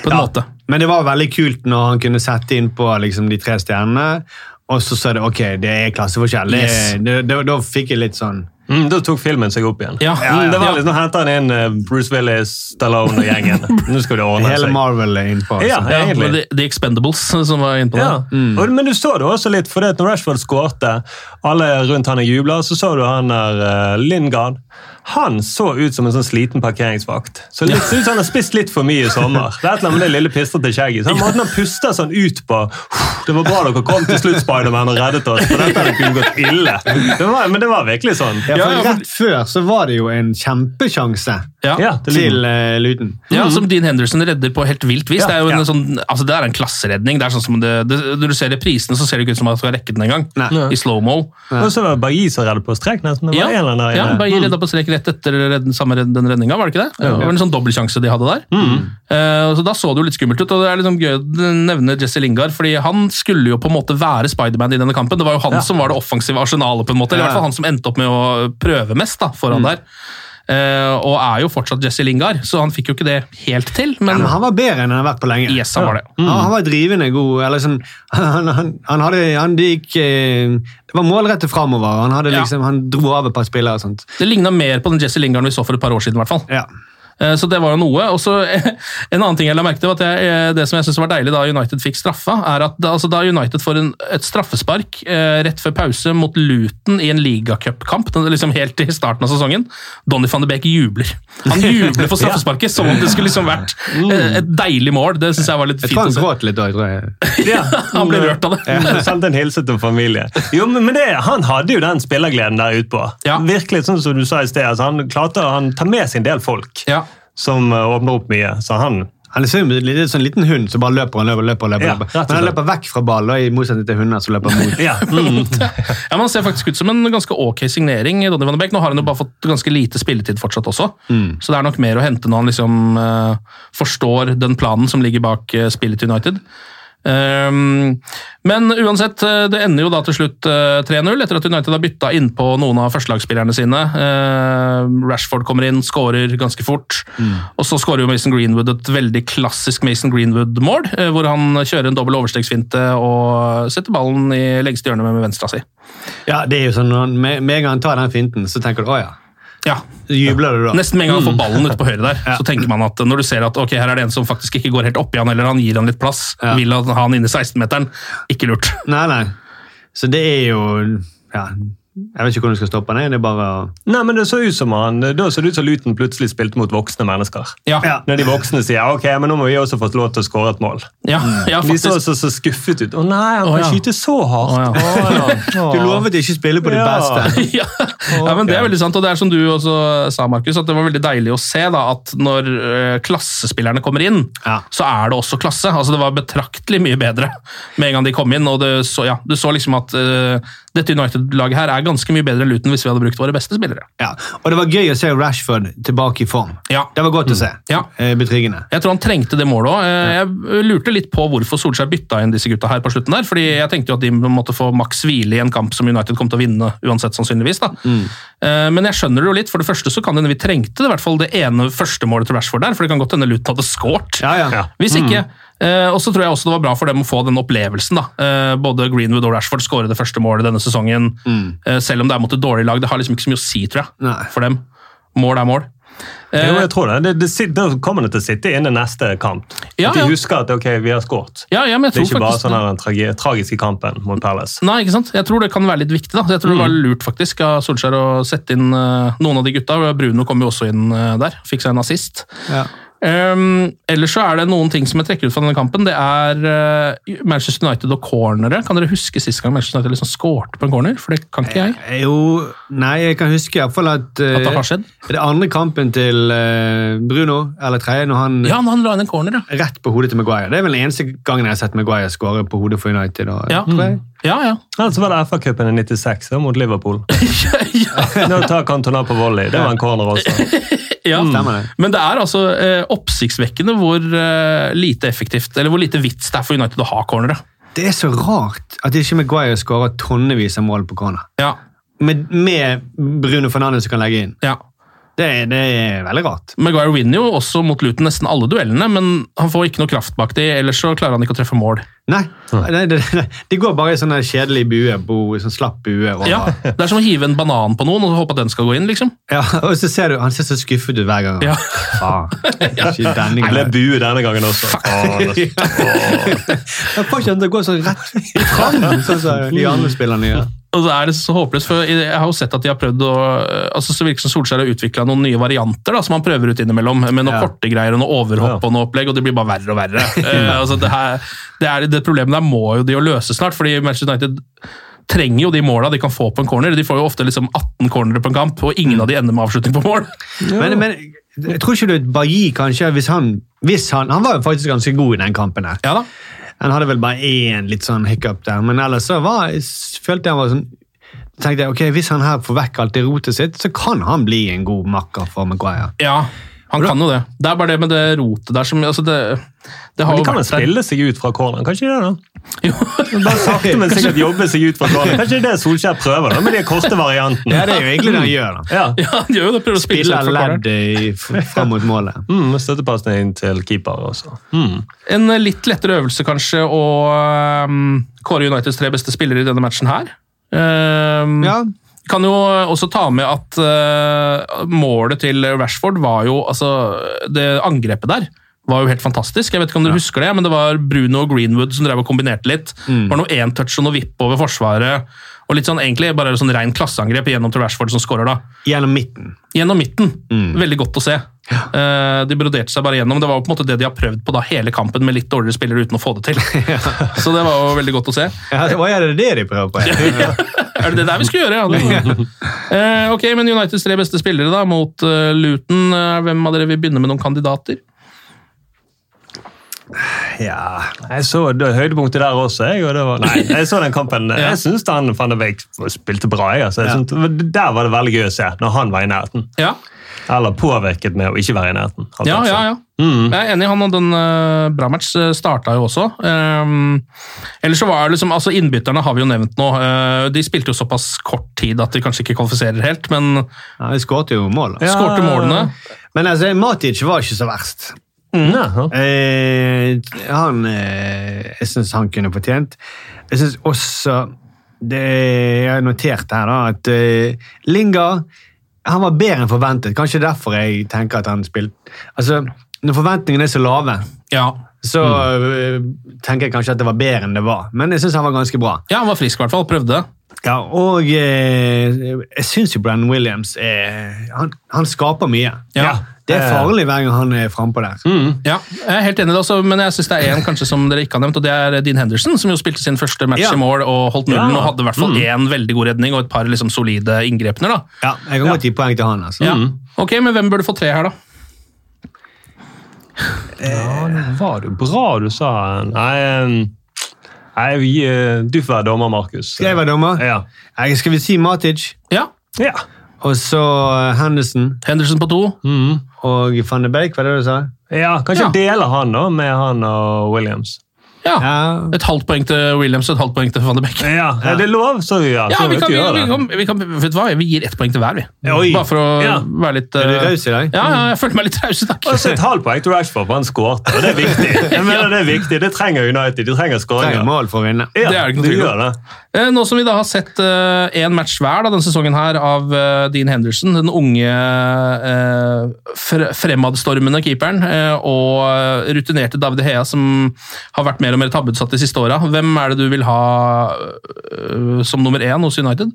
S2: På en måte.
S3: Men det var veldig kult når han kunne sette inn på liksom, de tre stjernene, og så sa det ok, det er klasseforskjell. Det,
S2: Yes.
S3: det, det, da fikk jeg litt sånn
S4: Mm, da tok filmen seg opp igjen.
S2: Ja, ja,
S4: Mm, det
S2: ja.
S4: var litt, Nå henter han inn eh, Bruce Willis, Stallone og gjengen. Nå skal det ordne
S3: Hele
S4: seg.
S3: Marvel er innpå.
S4: Ja,
S3: altså.
S2: Ja,
S4: egentlig.
S2: med de, de Expendables som var inne på det.
S4: Ja.
S3: Mm.
S4: Og, men du så det også litt, for det at når Rashford skårte, alle rundt han jubla, så så du han der eh, Lingard. Han så ut som en sånn sliten parkeringsvakt. Så litt, ser ut som han har spist litt for mye i sommer. Det er et eller annet med det lille pistrete skjegget. Så han måten han puster sånn ut på Det var bra dere kom til slutt, Spiderman, og reddet oss, for dette hadde kunne gått ille. Det var, men det var virkelig sånn.
S3: Ja, for
S2: Ja, ja, for-
S3: Rett før så var det jo en kjempesjanse
S2: Ja.
S4: Ja, det ligner.
S3: til eh, Luton.
S2: Ja, som Dean Henderson redder på helt vilt vis.
S4: Mhm. Ja,
S2: det er jo en
S4: ja.
S2: sånn, altså det er en klasseredning. Det er sånn som det, det, når du ser reprisene, så ser det ikke ut som at du har rekket den engang.
S3: Nei.
S2: I slow-mo.
S4: Og så var det Bailly som reddet på strek, nesten. Det
S2: Ja,
S4: var en eller annen der Mm.
S2: ja,
S4: inne.
S2: bare redda på strek rett etter redden, samme redd- den redninga, var det ikke det? Det var en sånn dobbeltsjanse de hadde der.
S4: Mm.
S2: Eh, så Da så det jo litt skummelt ut, og det er liksom gøy å nevne Jesse Lingard, fordi han skulle jo på en måte være Spiderman i denne kampen. Det var jo han som var det offensive arsenalet, på en måte, eller i hvert fall han som endte opp med å prøve mest da,
S4: Mm.
S2: foran der. Eh, og er jo fortsatt Jesse Lingard, så han fikk jo ikke det helt til,
S3: Ja,
S2: men
S3: men han var bedre enn han har vært på lenge.
S2: yes, han var det. Mm.
S3: Ja, han var drivende god. Eller sånn, han, han, han hadde han gikk eh, Det var målrettet framover. Han, hadde
S2: Ja.
S3: liksom, han dro av et par spillere og sånt.
S2: Det ligna mer på den Jesse Lingarden vi så for et par år siden. i hvert fall.
S3: Ja.
S2: Eh, Så det var jo noe. Og så eh, En annen ting jeg la merke til, var at jeg, eh, det som jeg synes var deilig da United fikk straffa, er at da, altså, da United får en, et straffespark eh, rett før pause mot Luton i en ligacupkamp, den er liksom helt i starten av sesongen, Donny van de Beek jubler. Han jubler for straffesparket som om det skulle liksom vært eh, et deilig mål. Det syns jeg var litt
S3: Jeg
S2: fint.
S3: tror
S2: å
S3: han
S2: se.
S3: gråt litt da. jeg tror jeg.
S4: Ja.
S2: Han ble rørt av det.
S4: Ja, Sendte en hilsen til familie. Jo, men men det, Han hadde jo den spillergleden der ute på.
S2: Ja.
S4: Virkelig, sånn som du sa i sted, altså, Han klarte han tar med sin del folk
S2: Ja.
S4: som eh, åpner opp mye. Så han
S3: Han er som en litt- sånn liten hund som bare løper og løper. og løper, og løper,
S4: Ja,
S3: løper.
S4: rett og
S3: Men han
S4: slett.
S3: løper vekk fra ballen, og i motsetning til hunder som løper mot.
S4: ja, mm.
S2: Ja, men Han ser faktisk ut som en ganske ok signering. Donny van de Beek. Nå har han jo bare fått ganske lite spilletid fortsatt også, så det er nok mer å hente når han liksom eh, forstår den planen som ligger bak eh, spillet til United. Ehm, Men uansett, eh, det ender jo da til slutt eh, 3-0, etter at United har bytta innpå noen av førstelagsspillerne sine. Eh, Rashford kommer inn, skårer ganske fort. Og så skårer jo Mason Greenwood et veldig klassisk Mason Greenwood-mål, eh, hvor han kjører en dobbel overstegsfinte og setter ballen i lengste hjørne med venstra si.
S3: Ja, det er jo sånn, når- Med med en gang han tar den finten, så tenker du å ja.
S2: Ja,
S3: Så jubler du da.
S2: Nesten med en gang han får ballen ute på høyre der, så tenker man at eh, når du ser at ok, her er det en som faktisk ikke går helt oppi han, eller han gir han litt plass,
S3: Ja.
S2: vil han ha han inne i 16-meteren, ikke lurt.
S3: Nei, nei. Så det er jo ja, Jeg vet ikke hvordan du skal stoppe den. Det er bare å
S4: Nei, men det så ut som han, Da så det ut som Luton plutselig spilte mot voksne mennesker.
S2: Ja, ja,
S3: Ja.
S4: Når de voksne sier ok, men nå må vi også få lov til å skåre et mål.
S2: ja,
S4: De Mm. så
S2: faktisk.
S4: så, så skuffet ut. Å nei, han
S2: Å,
S4: kan
S2: ja.
S4: skyte så hardt!
S2: Å, ja.
S3: Du lovet ikke å spille på ditt
S4: Ja.
S3: beste.
S2: ja. ja, men Det er veldig sant, og det er som du også sa, Markus, at det var veldig deilig å se da, at når eh, klassespillerne kommer inn,
S3: Ja.
S2: så er det også klasse. Altså Det var betraktelig mye bedre med en gang de kom inn. og det så, ja, Du så liksom at eh, dette United-laget her er ganske mye bedre enn Luton hvis vi hadde brukt våre beste spillere.
S3: Ja. Og det var gøy å se Rashford tilbake i form.
S2: Ja.
S3: Det var godt å se.
S2: Ja.
S3: Eh, Betryggende.
S2: Jeg tror han trengte det målet òg. Jeg lurte litt på hvorfor Solskjær bytta inn disse gutta her på slutten der. fordi jeg tenkte jo at de måtte få maks hvile i en kamp som United kom til å vinne uansett, sannsynligvis. da.
S3: Mm.
S2: Eh, Men jeg skjønner det jo litt. For det første så kan det hende vi trengte det, i hvert fall det ene første målet til Rashford der, for det kan godt hende Luton hadde skåret.
S3: Ja, Mm. ja.
S2: Hvis ikke. eh, og så tror jeg også det var bra for dem å få den opplevelsen. da. Eh, både Greenwood og Rashford skårer det første målet denne sesongen. Eh, selv om det er mot et dårlig lag. Det har liksom ikke så mye å si, tror jeg,
S3: Mm. Nei.
S2: for dem. Mål er mål. Eh,
S4: Jo, jeg tror det. det, det sit- da kommer det til å sitte inn i neste kamp.
S2: Ja,
S4: at de
S2: ja.
S4: husker at ok, vi har skåret.
S2: Ja, ja, men jeg
S4: Det er
S2: tror
S4: ikke bare
S2: faktisk
S4: sånn her den tragi- tragiske kampen mot Palace.
S2: Nei, ikke sant? Jeg tror det kan være litt viktig. da. Jeg tror
S3: Mm.
S2: det var lurt faktisk av Solskjær å sette inn eh, noen av de gutta. Bruno kom jo også inn eh, der, fikk seg en assist.
S3: Ja.
S2: Ehm, ellers så er det noen ting som jeg trekker ut fra denne kampen. Det er eh, Manchester United og cornere. Kan dere huske sist gang Manchester United liksom skårte på en corner? For det kan ikke jeg.
S3: Eh, Jo Nei, jeg kan huske iallfall at eh,
S2: At det har skjedd?
S3: Det er andre kampen til eh, Bruno, eller tredje, når han
S2: Ja, men han la inn en corner, ja.
S3: Rett på hodet til Maguire. Det er vel den eneste gangen jeg har sett Maguire skåre på hodet for United. Og,
S2: Ja,
S3: tror jeg.
S2: ja. ja.
S4: Ja, så var det FA-cupen i 96 da, mot Liverpool.
S2: ja.
S4: Nå tar Cantona på volley. Det var en corner også.
S2: Ja,
S3: Stemmer det.
S2: men det er altså eh, oppsiktsvekkende hvor eh, lite effektivt, eller hvor lite vits det er for United å ha cornere.
S3: Det er så rart at ikke Maguire skårer tonnevis av mål på corner.
S2: Ja,
S3: Med, med Bruno Fernandez som kan legge inn.
S2: ja.
S3: Det, er- det er veldig rart.
S2: Maguire vinner jo også mot Luton nesten alle duellene, men han får ikke noe kraft bak de, ellers så klarer han ikke å treffe mål.
S3: Nei, det, det, de går bare i sånn kjedelig bue, bo, sånn slapp bue. Over.
S2: Ja, Det er som å hive en banan på noen og håpe at den skal gå inn, liksom.
S3: Ja, og så ser du, han ser så skuffet ut hver gang.
S2: Ja.
S3: Faen, ikke denne
S4: Det ble
S3: gangen.
S4: bue denne gangen også. Å, det-
S3: Jeg får ikke han til å gå sånn rett fram, sånn som de andre spillerne gjør.
S2: Og så er det så håpløst, for jeg har jo sett at de har prøvd å altså Så virker det som Solskjær har utvikla noen nye varianter da, som han prøver ut innimellom, eh, med noen
S3: Ja.
S2: korte greier og noe overhopp
S4: Ja.
S2: og noe opplegg, og det blir bare verre og verre. Eh, altså det, her, det, er, det problemet der må jo de jo løse snart, fordi Manchester United trenger jo de måla de kan få på en corner. De får jo ofte liksom 18 cornere på en kamp, og ingen av de ender med avslutning på mål.
S3: Men, men jeg tror ikke du Bailly, kanskje, hvis han, hvis han Han var jo faktisk ganske god i den kampen her.
S2: Ja da.
S3: Han hadde vel bare én litt sånn hiccup der, men ellers så var, følte jeg han var sånn tenkte jeg, ok, Hvis han her får vekk alt det rotet sitt, så kan han bli en god makker for Maguire.
S2: Ja, han kan jo det. Det er bare det med det rotet der som altså det, det har
S4: Men
S2: jo
S4: de kan jo
S2: vært der.
S4: spille seg ut fra corneren, kan ikke de det? da?
S2: Jo,
S4: Bare sakte, men sikkert jobbe seg ut fra corneren. Kanskje det er Solskjær prøver, da, med de korte variantene.
S3: Ja, det er jo egentlig det han gjør. da.
S4: Ja.
S2: ja, han gjør jo det. Prøver å spille
S3: Spiller
S2: seg ut fra corneren.
S3: leddet fram mot målet.
S4: Mm, Støttepasning inn til keeper også. Mm.
S2: En litt lettere øvelse kanskje å ehm, kåre Uniteds tre beste spillere i denne matchen her. Ehm,
S3: Ja,
S2: Kan jo også ta med at eh, målet til Rashford var jo Altså, det angrepet der var jo helt fantastisk. Jeg vet ikke om dere husker det, men det var Bruno og Greenwood som drev og kombinerte litt. Det var noe én-touch og noe vipp over forsvaret. Og litt sånn egentlig bare sånn rein klasseangrep gjennom til Rashford som skårer, da
S3: Gjennom midten.
S2: gjennom midten. Veldig godt å se. Eh, De broderte seg bare gjennom. Det var jo på en måte det de har prøvd på da hele kampen med litt dårligere spillere uten å få det til. Så det var jo veldig godt å se.
S3: Ja, hva er det det de prøver på? her?
S2: Er det det der vi skulle gjøre? Ja, det- Eh, ok, men Uniteds tre beste spillere da, mot eh, Luton. Eh, Hvem av dere vil begynne med noen kandidater?
S4: Ja, jeg så det høydepunktet der også. Jeg, og det var, nei, jeg så den kampen.
S2: Ja.
S4: Jeg syns han van de Beek spilte bra. Jeg, altså. jeg
S3: Ja.
S4: synes, der var det veldig gøy å se, når han var i nærheten.
S2: Ja,
S4: Eller påvirket med å ikke være i nærheten. altså.
S2: ja, ja. ja. Jeg er enig, han hadde en eh, bra match. eh, Starta jo også. Um, ellers så var det liksom, altså Innbytterne har vi jo nevnt nå. eh, de spilte jo såpass kort tid at de kanskje ikke kvalifiserer helt, men
S3: Ja, jeg skåret jo mål. da.
S4: Ja.
S2: skårte målene.
S3: Men altså, Matic var ikke så verst.
S4: Mm, Ja, ja.
S3: Eh, han eh, Jeg syns han kunne fortjent. Jeg syns også det, Jeg har notert her da, at eh, Lingard han var bedre enn forventet. Kanskje derfor jeg tenker at han spilte Altså, Når forventningene er så lave,
S2: Ja.
S3: så eh, tenker jeg kanskje at det var bedre enn det var. Men jeg syns han var ganske bra.
S2: ja, han var frisk i hvert fall. Prøvde.
S3: Ja, Og eh, jeg syns jo Brennan Williams eh, han, han skaper mye.
S2: Ja. Mm.
S3: Det er farlig hver gang han er frampå der.
S2: Ja, jeg er helt enig i det også, men jeg synes det er en kanskje som dere ikke har nevnt, og det er Dean Henderson, som jo spilte sin første match
S3: Ja.
S2: i mål og holdt nullen,
S4: Ja.
S2: og hadde i hvert fall én veldig god redning og et par liksom solide inngrepener. da.
S3: Ja, Jeg kan godt gi poeng til han. altså.
S2: Ja. Ok, men hvem burde få tre her, da?
S4: Ja, nå var det jo bra du sa Nei, eh, nei vi, eh, du får være dommer, Markus.
S3: Skal jeg være dommer?
S4: Ja.
S3: Nei, Skal vi si Matic,
S2: Ja,
S4: ja.
S3: og så eh, Henderson
S2: Henderson på to.
S4: Mhm.
S3: og van de Beek, var det det du sa?
S4: ja kanskje
S2: Ja.
S4: dele han da, med han og Williams.
S2: Ja.
S3: Ja.
S2: Et halvt poeng til Williams og et halvt poeng til Van de Beek.
S4: Ja, Er det lov, så gjør
S2: Ja,
S4: så
S2: vi
S4: vet
S2: kan,
S4: du
S2: vi,
S4: gjør
S2: vi,
S4: det.
S2: kan, vi, kan, vet du hva? vi gir ett poeng til hver, vi.
S4: Oi.
S2: Bare for å
S4: Ja.
S2: være litt
S3: Er du
S2: eh,
S3: raus i dag?
S2: Ja, ja, jeg føler meg litt raus i dag.
S4: Og så et halvt poeng til Rashford, for han skåret. Og det er viktig. Jeg mener Det er viktig, det trenger United. De trenger
S3: Trenger
S4: skåringer.
S3: mål for å vinne.
S4: Ja,
S2: Det er det ikke noe
S4: de
S2: tvil om.
S4: gjør det.
S2: Eh, Nå som vi da har sett én match hver da, denne sesongen her av eh, Dean Henderson, den unge eh, fre fremadstormende keeperen, eh, og eh, rutinerte David Hea, som har vært mer og mer tabbeutsatt de siste åra. Hvem er det du vil ha eh, som nummer én hos United?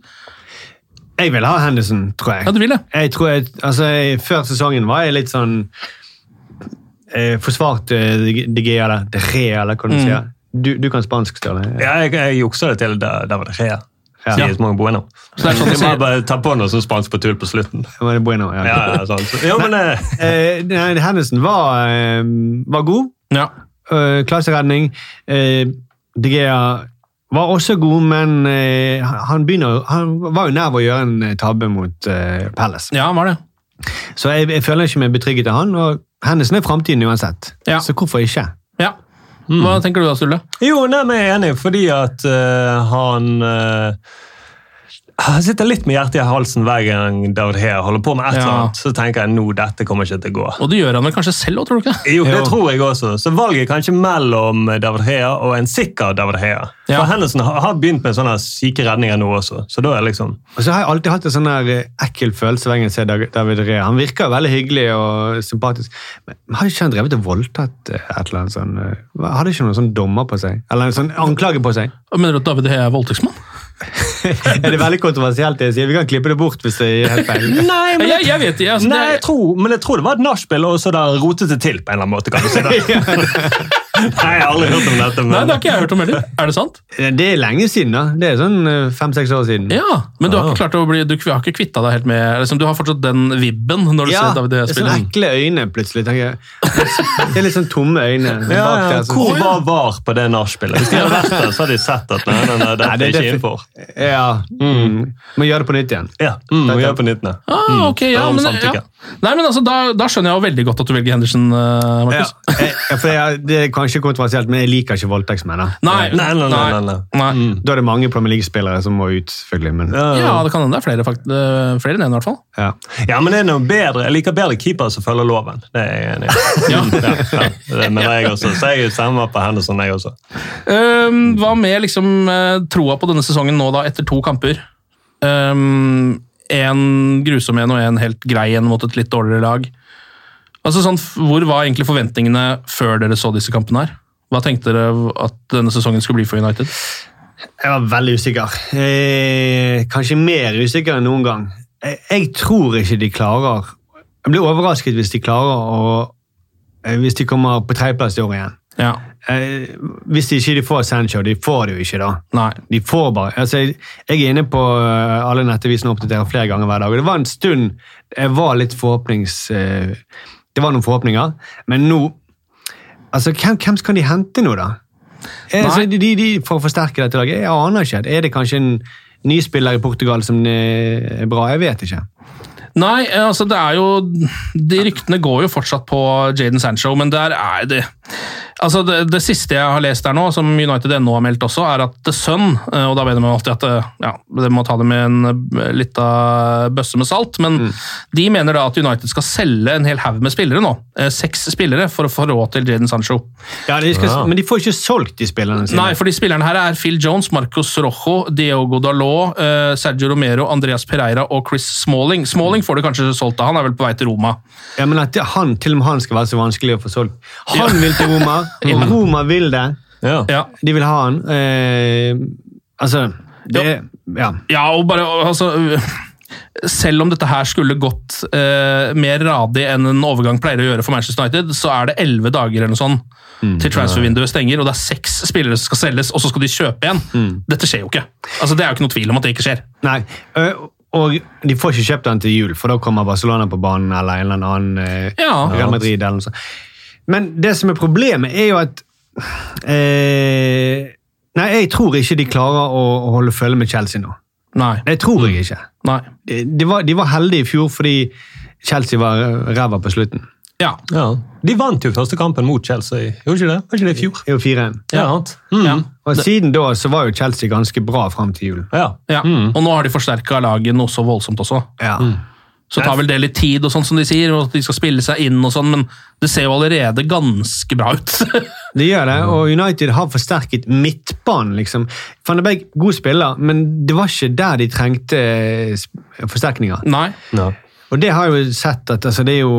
S3: Jeg vil ha Henderson, tror jeg.
S2: Ja, du vil det?
S3: Jeg tror jeg, altså, jeg, Før sesongen var jeg litt sånn eh, Forsvarte De Gea eller De Rea, eller hva du sier. Du, du kan spansk, Ståle.
S4: Ja, jeg, jeg juksa det til der, der var det Rea.
S3: Ja.
S4: Sies mange buena.
S2: Så det er sånn å
S4: Jeg
S2: si.
S4: må bare ta på noe som spansk på tull på slutten.
S3: Det var det Bueno, ja.
S4: Ja, ja, sånn. Så- Jo, men eh,
S3: Eh, nei, Henderson var, eh, var god.
S2: Ja.
S3: Eh, klasseredning. Eh, De Gea var også god, men eh, han, begynner, han var jo nær ved å gjøre en eh, tabbe mot eh, Palace.
S2: ja, han var det.
S3: Så jeg, jeg føler ikke meg betrygget av han, og Henderson er framtiden uansett.
S2: Ja.
S3: Så hvorfor ikke?
S2: Ja.
S4: Mm.
S2: Hva tenker du da, Sturle?
S4: Jo, nei, men jeg er enig, fordi at eh, han eh, Han sitter litt med hjertet i halsen hver gang David Hea holder på med et eller
S2: Ja.
S4: annet. Så tenker jeg nå, dette kommer ikke til å gå.
S2: Og det gjør han vel kanskje selv òg, tror du ikke? det?
S4: Jo, det tror jeg også. Så valget er kanskje mellom David Hea og en sikker David Hea.
S2: Ja.
S4: For Henderson har har begynt med sånne syke redninger nå også. Så da er liksom
S3: Og så har jeg alltid hatt en sånn der eh, ekkel følelse hver gang jeg ser Dag- David Rea. Han virker veldig hyggelig og sympatisk, men har ikke han drevet og voldtatt eh, et eller annet sånn eh, hva- Hadde ikke noen sånn dommer på seg? Eller en sånn anklage på seg?
S2: Mener du at David Hea er voldtektsmann?
S3: er det veldig kontroversielt det jeg sier? Vi kan klippe det bort hvis det er helt feil.
S4: Nei,
S2: Jeg, jeg vet ikke. Altså,
S4: Nei, jeg
S2: det,
S4: tror, men jeg tror det var et nachspiel, og så der rotet det til på en eller annen måte. kan du si det. Nei, jeg har aldri hørt om dette.
S2: nei,
S4: Men...
S2: det har ikke jeg hørt om heller. Er det sant?
S3: Det er lenge siden, da. Det er sånn eh, fem-seks år siden.
S2: Ja, men du har ikke klart å bli, du har ikke kvitta deg helt med liksom, Du har fortsatt den vibben når du
S3: Ja,
S2: ser David Hea
S3: sånne
S2: spille.
S3: ekle øyne plutselig. tenker jeg. Det er litt sånn tomme øyne bak
S4: ja, ja.
S3: der. sånn-
S4: Hvor var VAR på det nachspielet? Hvis de hadde vært der, så hadde de sett at nei, nei, nei, dette
S3: Nei, det er
S4: er ikke
S3: defi-
S4: innenfor.
S3: Ja. Mm. Må gjøre det på nytt igjen.
S4: Ja, mm, vi gjør på nytt nå.
S2: Ah, ok,
S4: Mm. det
S2: ja,
S4: er om
S2: men, ja.
S4: samtykke.
S2: Nei, men altså, da, da skjønner jeg jo veldig godt at du velger Henderson, eh,
S3: Ja.
S2: Markus.
S3: Eh, For jeg, det er kanskje kontroversielt, men jeg liker ikke voldtektsmenn. da.
S2: Nei,
S4: Nei, nei, nei, nei, nei.
S2: nei.
S3: Da er det mange Premier League-spillere som må ut, selvfølgelig. Men,
S4: Ja,
S2: Ja, det kan hende det er flere, fakt eh, flere enn én, i hvert fall.
S3: ja.
S4: Ja, men det er noe bedre. Jeg liker bedre keepere som følger loven. Det er jeg enig i.
S2: Ja.
S4: Ja, ja, det mener jeg også. Så jeg stemmer på Henderson, jeg også.
S2: Ehm, hva med liksom eh, troa på denne sesongen nå, da, etter to kamper? Ehm, en grusom en og en helt grei en mot et litt dårligere lag. Altså sånn, f- Hvor var egentlig forventningene før dere så disse kampene her? Hva tenkte dere at denne sesongen skulle bli for United?
S3: Jeg var veldig usikker. Eh, kanskje mer usikker enn noen gang. Jeg, jeg tror ikke de klarer Jeg blir overrasket hvis de klarer å eh, Hvis de kommer på tredjeplass i år igjen.
S2: Ja,
S3: Eh, hvis de ikke de får Sancho, de får det jo ikke da.
S2: nei.
S3: De får bare, altså jeg, jeg er inne på eh, alle nettavisene og oppdaterer flere ganger hver dag, og det var en stund jeg var litt forhåpnings... eh, Det var noen forhåpninger, men nå Altså, hvem, hvem skal de hente nå, da? Eh, Altså, de, de, for å forsterke dette laget? Jeg aner ikke. Er det kanskje en ny spiller i Portugal som eh, er bra? Jeg vet ikke.
S2: Nei, eh, altså det er jo De ryktene går jo fortsatt på Jaden Sancho, men der er det Altså det, det siste jeg har lest der nå, som United.no har meldt også, er at The Sun eh, Og da mener man alltid at eh, ja, det må ta det med en eh, lita bøsse med salt, men de mener da at United skal selge en hel haug med spillere nå. eh, Seks spillere for å få råd til Jaden Sancho.
S3: Ja, de skal,
S4: Ja.
S3: Men de får ikke solgt de spillerne sine.
S2: Nei, for de spillerne her er Phil Jones, Marcos Rojo, Diogo Dalot, eh, Sergio Romero, Andreas Pereira og Chris Smalling. Smalling får du kanskje solgt av, han er vel på vei til Roma.
S3: Ja, men at han, til og med han skal være så vanskelig å få solgt. Han vil til Roma, og Roma vil det.
S4: Ja.
S2: Ja.
S3: De vil ha han. Eh, altså det, ja.
S2: Ja, og bare altså, Selv om dette her skulle gått eh, mer radig enn en overgang pleier å gjøre for Manchester United, så er det elleve dager eller noe sånn til transfervinduet stenger, og det er seks spillere som skal selges, og så skal de kjøpe igjen. Dette skjer jo ikke. Altså, Det er jo ikke noe tvil om at det ikke skjer.
S3: Nei. ø, Og de får ikke kjøpt den til jul, for da kommer Barcelona på banen eller en eller annen eh,
S2: Ja.
S3: Real Madrid eller noe sånt. Men det som er problemet, er jo at eh, Nei, jeg tror ikke de klarer å, å holde følge med Chelsea nå.
S2: Nei.
S3: Det tror jeg ikke.
S2: Nei.
S3: De, de, var, de var heldige i fjor fordi Chelsea var ræva på slutten.
S2: Ja.
S4: Ja. De vant jo første kampen mot Chelsea, gjorde ikke det? Var ikke det i fjor?
S3: Det er jo 4-1.
S4: Ja. sant? Mm. ja.
S3: Og siden da så var jo Chelsea ganske bra fram til jul.
S2: ja. Og nå har de forsterka laget noe så voldsomt også.
S3: Ja.
S2: Så tar vel det litt tid, og sånn som de sier, og at de skal spille seg inn og sånn, men det ser jo allerede ganske bra ut.
S3: Det gjør det, og United har forsterket midtbanen. liksom. Van de Beek, god spiller, men det var ikke der de trengte eh, sp- forsterkninger.
S2: Nei.
S4: Ja.
S3: Og det har jeg jo sett at altså, det er jo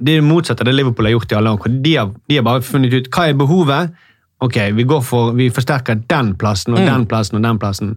S3: det er motsatt av det Liverpool har gjort i alle år. hvor De har, de har bare funnet ut hva er behovet. Ok, vi, går for, vi forsterker den plassen og den plassen og den plassen.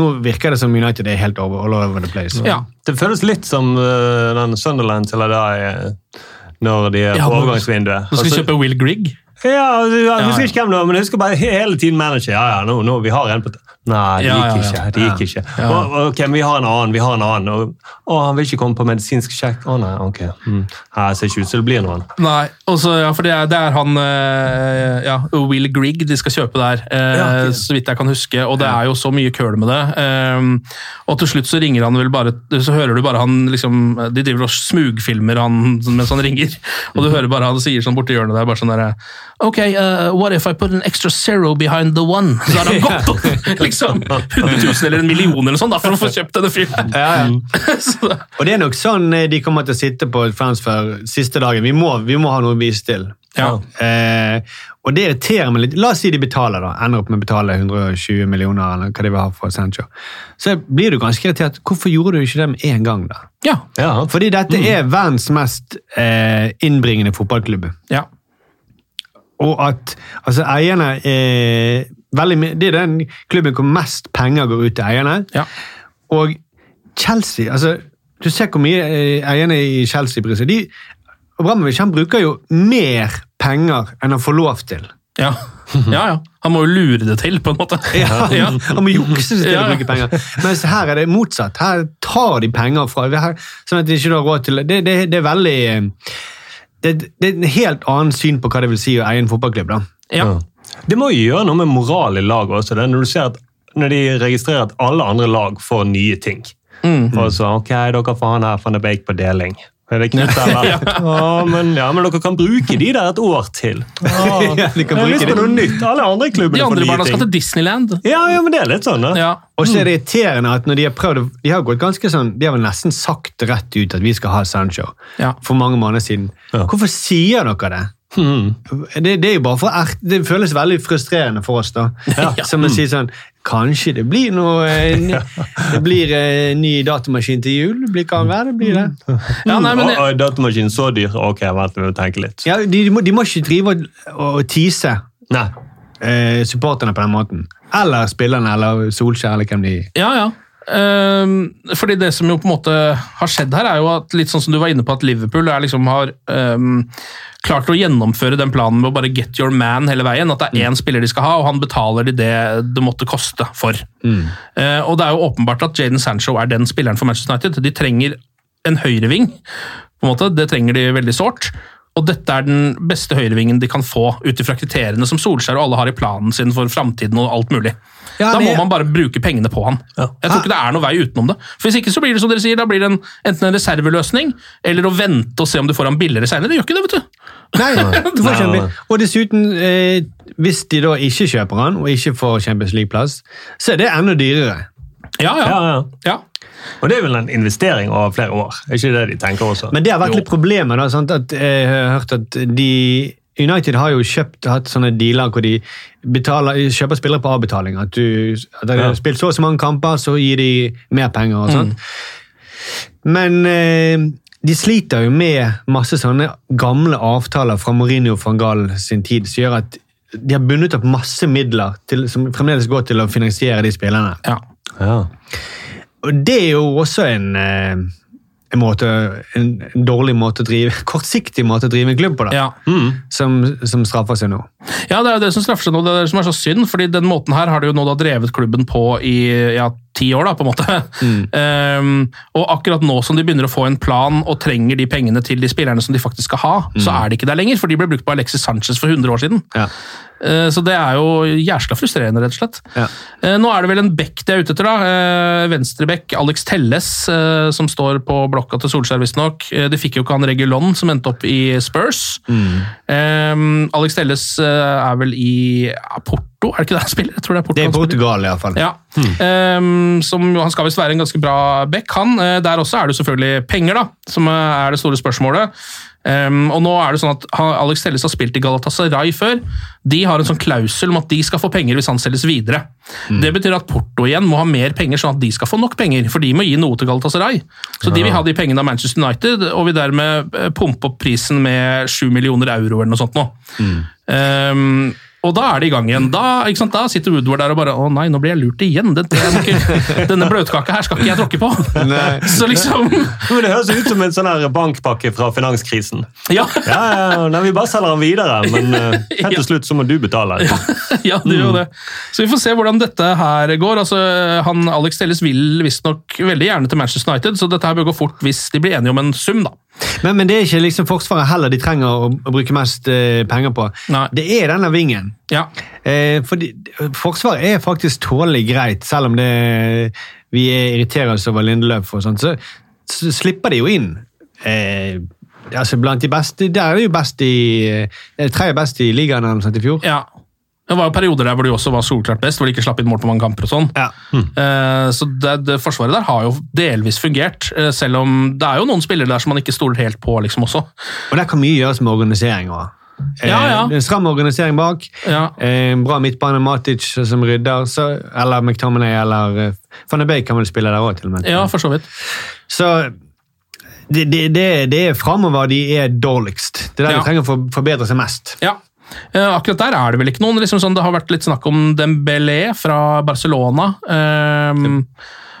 S3: Nå virker det som United er helt over, all over the place.
S2: Ja.
S4: Det føles litt som eh, den Sunderland til deg eh, når de er
S2: Ja,
S4: på
S2: nå-
S4: overgangsvinduet.
S2: Nå skal vi
S4: Altså-
S2: kjøpe Will Grigg.
S4: Ja, jeg
S2: Ja, ja.
S4: husker ikke hvem det var, men jeg husker bare he- hele tiden manager. Ja, ja, nå, nå, vi har en på... t- Nei, det
S2: Ja, ja,
S4: gikk
S2: ja.
S4: ikke. det gikk ikke.
S2: Ja.
S4: Og, ok, men vi har en annen, vi har en annen. Og, å, han vil ikke komme på medisinsk sjekk. Å nei, ok. Mm. Her ser ikke ut som det blir noen.
S2: Nei, og så, ja, for det er, det er han eh, ja, Will Grigg de skal kjøpe der, eh,
S4: Ja, ok.
S2: så vidt jeg kan huske. Og det er jo så mye køl med det. eh, og til slutt så ringer han vel bare Så hører du bare han liksom De driver og smugfilmer han mens han ringer, og du hører bare han sier sånn borti hjørnet der bare sånn derre Ok, eh, what if I put an extra zero behind the one? Så har han gått opp liksom 100 000 eller en million eller noe sånt da, for å få kjøpt denne fyren.
S3: Ja, ja.
S2: Så da-
S3: Og det er nok sånn eh, de kommer til å sitte på transfer siste dagen. Vi må, vi må ha noe å vise til.
S2: Ja.
S3: Eh, og det irriterer meg litt. La oss si de betaler, da. Ender opp med å betale 120 millioner eller hva de vil ha for Sancho. Så blir du ganske irritert. Hvorfor gjorde du ikke det med en gang, da?
S2: ja.
S4: Ja,
S3: Fordi dette er verdens mest eh, innbringende fotballklubb.
S2: ja.
S3: Og at altså, eierne er veldig mye Det er den klubben hvor mest penger går ut til eierne.
S2: Ja.
S3: Og Chelsea altså, Du ser hvor mye eh, eierne i Chelsea bryr seg. De, Abramovic han bruker jo mer penger enn han får lov til.
S2: Ja. ja, ja. Han må jo lure det til, på en måte.
S3: Ja,
S2: Ja.
S3: Han må jukse seg til
S2: Ja.
S3: å bruke penger. Mens her er det motsatt. Her tar de penger fra det her, sånn at de ikke har råd til det. Det, det, det er veldig eh, det, det er et helt annet syn på hva det vil si å eie en fotballklubb. da.
S2: Ja.
S4: Det må jo gjøre noe med moral i laget også, det, er når, du ser at, når de registrerer at alle andre lag får nye ting.
S3: Mm.
S4: Og så, ok, dere får han her van de Beek på deling. Er det Knut eller? ja. men, ja, men dere kan bruke de der et år til. Ah,
S3: de kan
S4: jeg har
S3: bruke
S4: lyst på
S3: de.
S4: noe nytt. Alle andre
S2: De
S4: klubbene får
S2: andre barna
S4: nye
S2: skal
S4: ting.
S2: til Disneyland.
S4: Ja, ja, men det er litt sånn, da.
S2: Ja.
S3: Og så er det irriterende at når de har prøvd, å- de har gått ganske sånn, de har vel nesten sagt rett ut at vi skal ha Sancho
S2: Ja.
S3: for mange måneder siden.
S4: Ja.
S3: Hvorfor sier dere det? Det, det er jo bare for ert, det føles veldig frustrerende for oss da. Som å si sånn, kanskje det blir noe, eh, ny, det blir eh, ny datamaskin til jul, det blir, kan være, det blir det.
S2: Ja, nei, men
S4: Å, å, datamaskin så dyr. Ok, vent, vi må tenke litt.
S3: Ja, de, de, må, de må ikke drive og, og, og tease
S4: Nei.
S3: eh, supporterne på den måten. Eller spillerne, eller Solskjær, eller hvem de
S2: Ja, ja. Ehm, fordi det som jo på en måte har skjedd her, er jo at litt sånn som du var inne på at Liverpool er liksom har ehm, klart å gjennomføre den planen med å bare get your man hele veien. At det er
S3: Mm.
S2: én spiller de skal ha, og han betaler de det det måtte koste for.
S3: Mm.
S2: Eh, og det er jo åpenbart at Jaden Sancho er den spilleren for Manchester United. De trenger en høyreving, på en måte. Det trenger de veldig sårt. og dette er den beste høyrevingen de kan få, ut ifra kriteriene som Solskjær og alle har i planen sin for framtiden og alt mulig.
S3: Ja,
S2: da må
S3: det-
S2: man bare bruke pengene på han. Jeg tror ikke det er noen vei utenom det. For Hvis ikke så blir det som dere sier, da blir det en, enten en reserveløsning, eller å vente og se om du får han billigere seinere. Det gjør ikke det, vet du.
S3: Nei, du får
S4: Nei, nei,
S3: kjempe.
S4: nei.
S3: Og dessuten, eh, hvis de da ikke kjøper han, og ikke får Champions League-plass, så er det enda dyrere.
S2: Ja, ja.
S4: Ja,
S2: ja.
S4: ja.
S2: ja.
S4: Og det er vel en investering over flere år. Er ikke det de tenker også?
S3: Men det har vært
S2: Jo.
S3: litt problemer. da, sant? At eh, jeg har hørt at de United har jo kjøpt, hatt sånne dealer hvor de betaler, kjøper spillere på avbetaling. At du at de
S4: Ja.
S3: har spilt så og så mange kamper, så gir de mer penger. og sånt. Men eh, de sliter jo med masse sånne gamle avtaler fra Mourinho van Gaal sin tid, som gjør at de har bundet opp masse midler til, som fremdeles går til å finansiere de spillerne.
S2: ja.
S4: ja.
S3: Og det er jo også en, eh, en, måte, en en dårlig måte å drive, kortsiktig måte å drive en klubb på, da,
S2: ja.
S4: Mm.
S3: som, som straffer seg nå.
S2: Ja, det er jo det som straffer seg nå, det er det som er så synd, fordi den måten her har de jo nå da drevet klubben på i ja, ti år, da, på en måte.
S4: Mm.
S2: Ehm, og akkurat nå som de begynner å få en plan og trenger de pengene til de spillerne som de faktisk skal ha,
S4: Mm.
S2: så er de ikke der lenger, for de ble brukt på Alexis Sanchez for 100 år siden.
S3: Ja.
S2: Eh, Så det er jo jæsla frustrerende, rett og slett.
S3: Ja.
S2: Eh, Nå er det vel en bekk de er ute etter, da. Eh, Venstrebekk, Alex Telles, eh, som står på blokka til Solskjær, visstnok. Eh, De fikk jo ikke han Regulon, som endte opp i Spurs.
S3: Mm.
S2: Eh, Alex Telles eh, er vel i ja, Porto, er det ikke det han spiller? Jeg tror det er Porto.
S3: Det er
S2: han
S3: i
S2: spiller.
S3: Portugal, iallfall.
S2: Ja. Ehm, som, jo- han skal visst være en ganske bra back, han. Eh, der også er det jo selvfølgelig penger, da, som eh, er det store spørsmålet. Ehm, og nå er det sånn at han, Alex Telles har spilt i Galatasaray før. De har en sånn klausul om at de skal få penger hvis han selges videre. Det betyr at Porto igjen må ha mer penger, sånn at de skal få nok penger. For de må gi noe til Galatasaray. Så de vil ha de pengene av Manchester United, og vil dermed eh, pumpe opp prisen med 7 millioner euro eller noe sånt nå. Ehm, og da er det i gang igjen. Da, ikke sant? da sitter Woodward der og bare Å nei, nå blir jeg lurt igjen. Den, jeg må ikke, denne bløtkaka her skal ikke jeg tråkke på.
S3: Nei.
S2: Så liksom
S4: Men Det høres ut som en sånn her bankpakke fra finanskrisen.
S2: Ja,
S4: Ja, ja, nei, Vi bare selger den videre, men eh, helt til slutt så må du betale.
S2: ja det gjør jo det. Så vi får se hvordan dette her går. Altså, han Alex Telles vil visstnok veldig gjerne til Manchester United, så dette her bør gå fort hvis de blir enige om en sum, da.
S3: Men, men det er ikke liksom Forsvaret heller de trenger å, å bruke mest eh, penger på.
S2: Nei.
S3: Det er denne vingen.
S2: Ja.
S3: Eh, fordi, forsvaret er faktisk tålelig greit, selv om det, vi er- irriterer oss over Lindeløf og sånt. Så, så slipper de jo inn. Eh, altså blant de beste, Der er de jo best i eh, tredje best i ligaen eller noe sånt i fjor.
S2: ja. Det var jo perioder der hvor de også var solklart best, hvor de ikke slapp inn mål på mange kamper og sånn.
S3: Ja. Mm.
S2: Eh, Så det, det forsvaret der har jo delvis fungert, eh, selv om det er jo noen spillere der som man ikke stoler helt på, liksom også.
S3: Og der kan mye gjøres med organisering òg.
S2: Ja, ja.
S3: En stram organisering bak.
S2: Ja.
S3: Eh, en bra midtbane, Matic eh, som rydder, så, eller McTominay eller eh, Van de Beek kan vel spille der òg, til og med.
S2: Ja, for så vidt.
S3: Så det, det, det, det er framover de er dårligst. Det er der
S2: Ja.
S3: de trenger å for- forbedre seg mest.
S2: Ja. Eh, akkurat der er det vel ikke noen. Liksom sånn, det har vært litt snakk om Dembélé fra Barcelona. Ehm,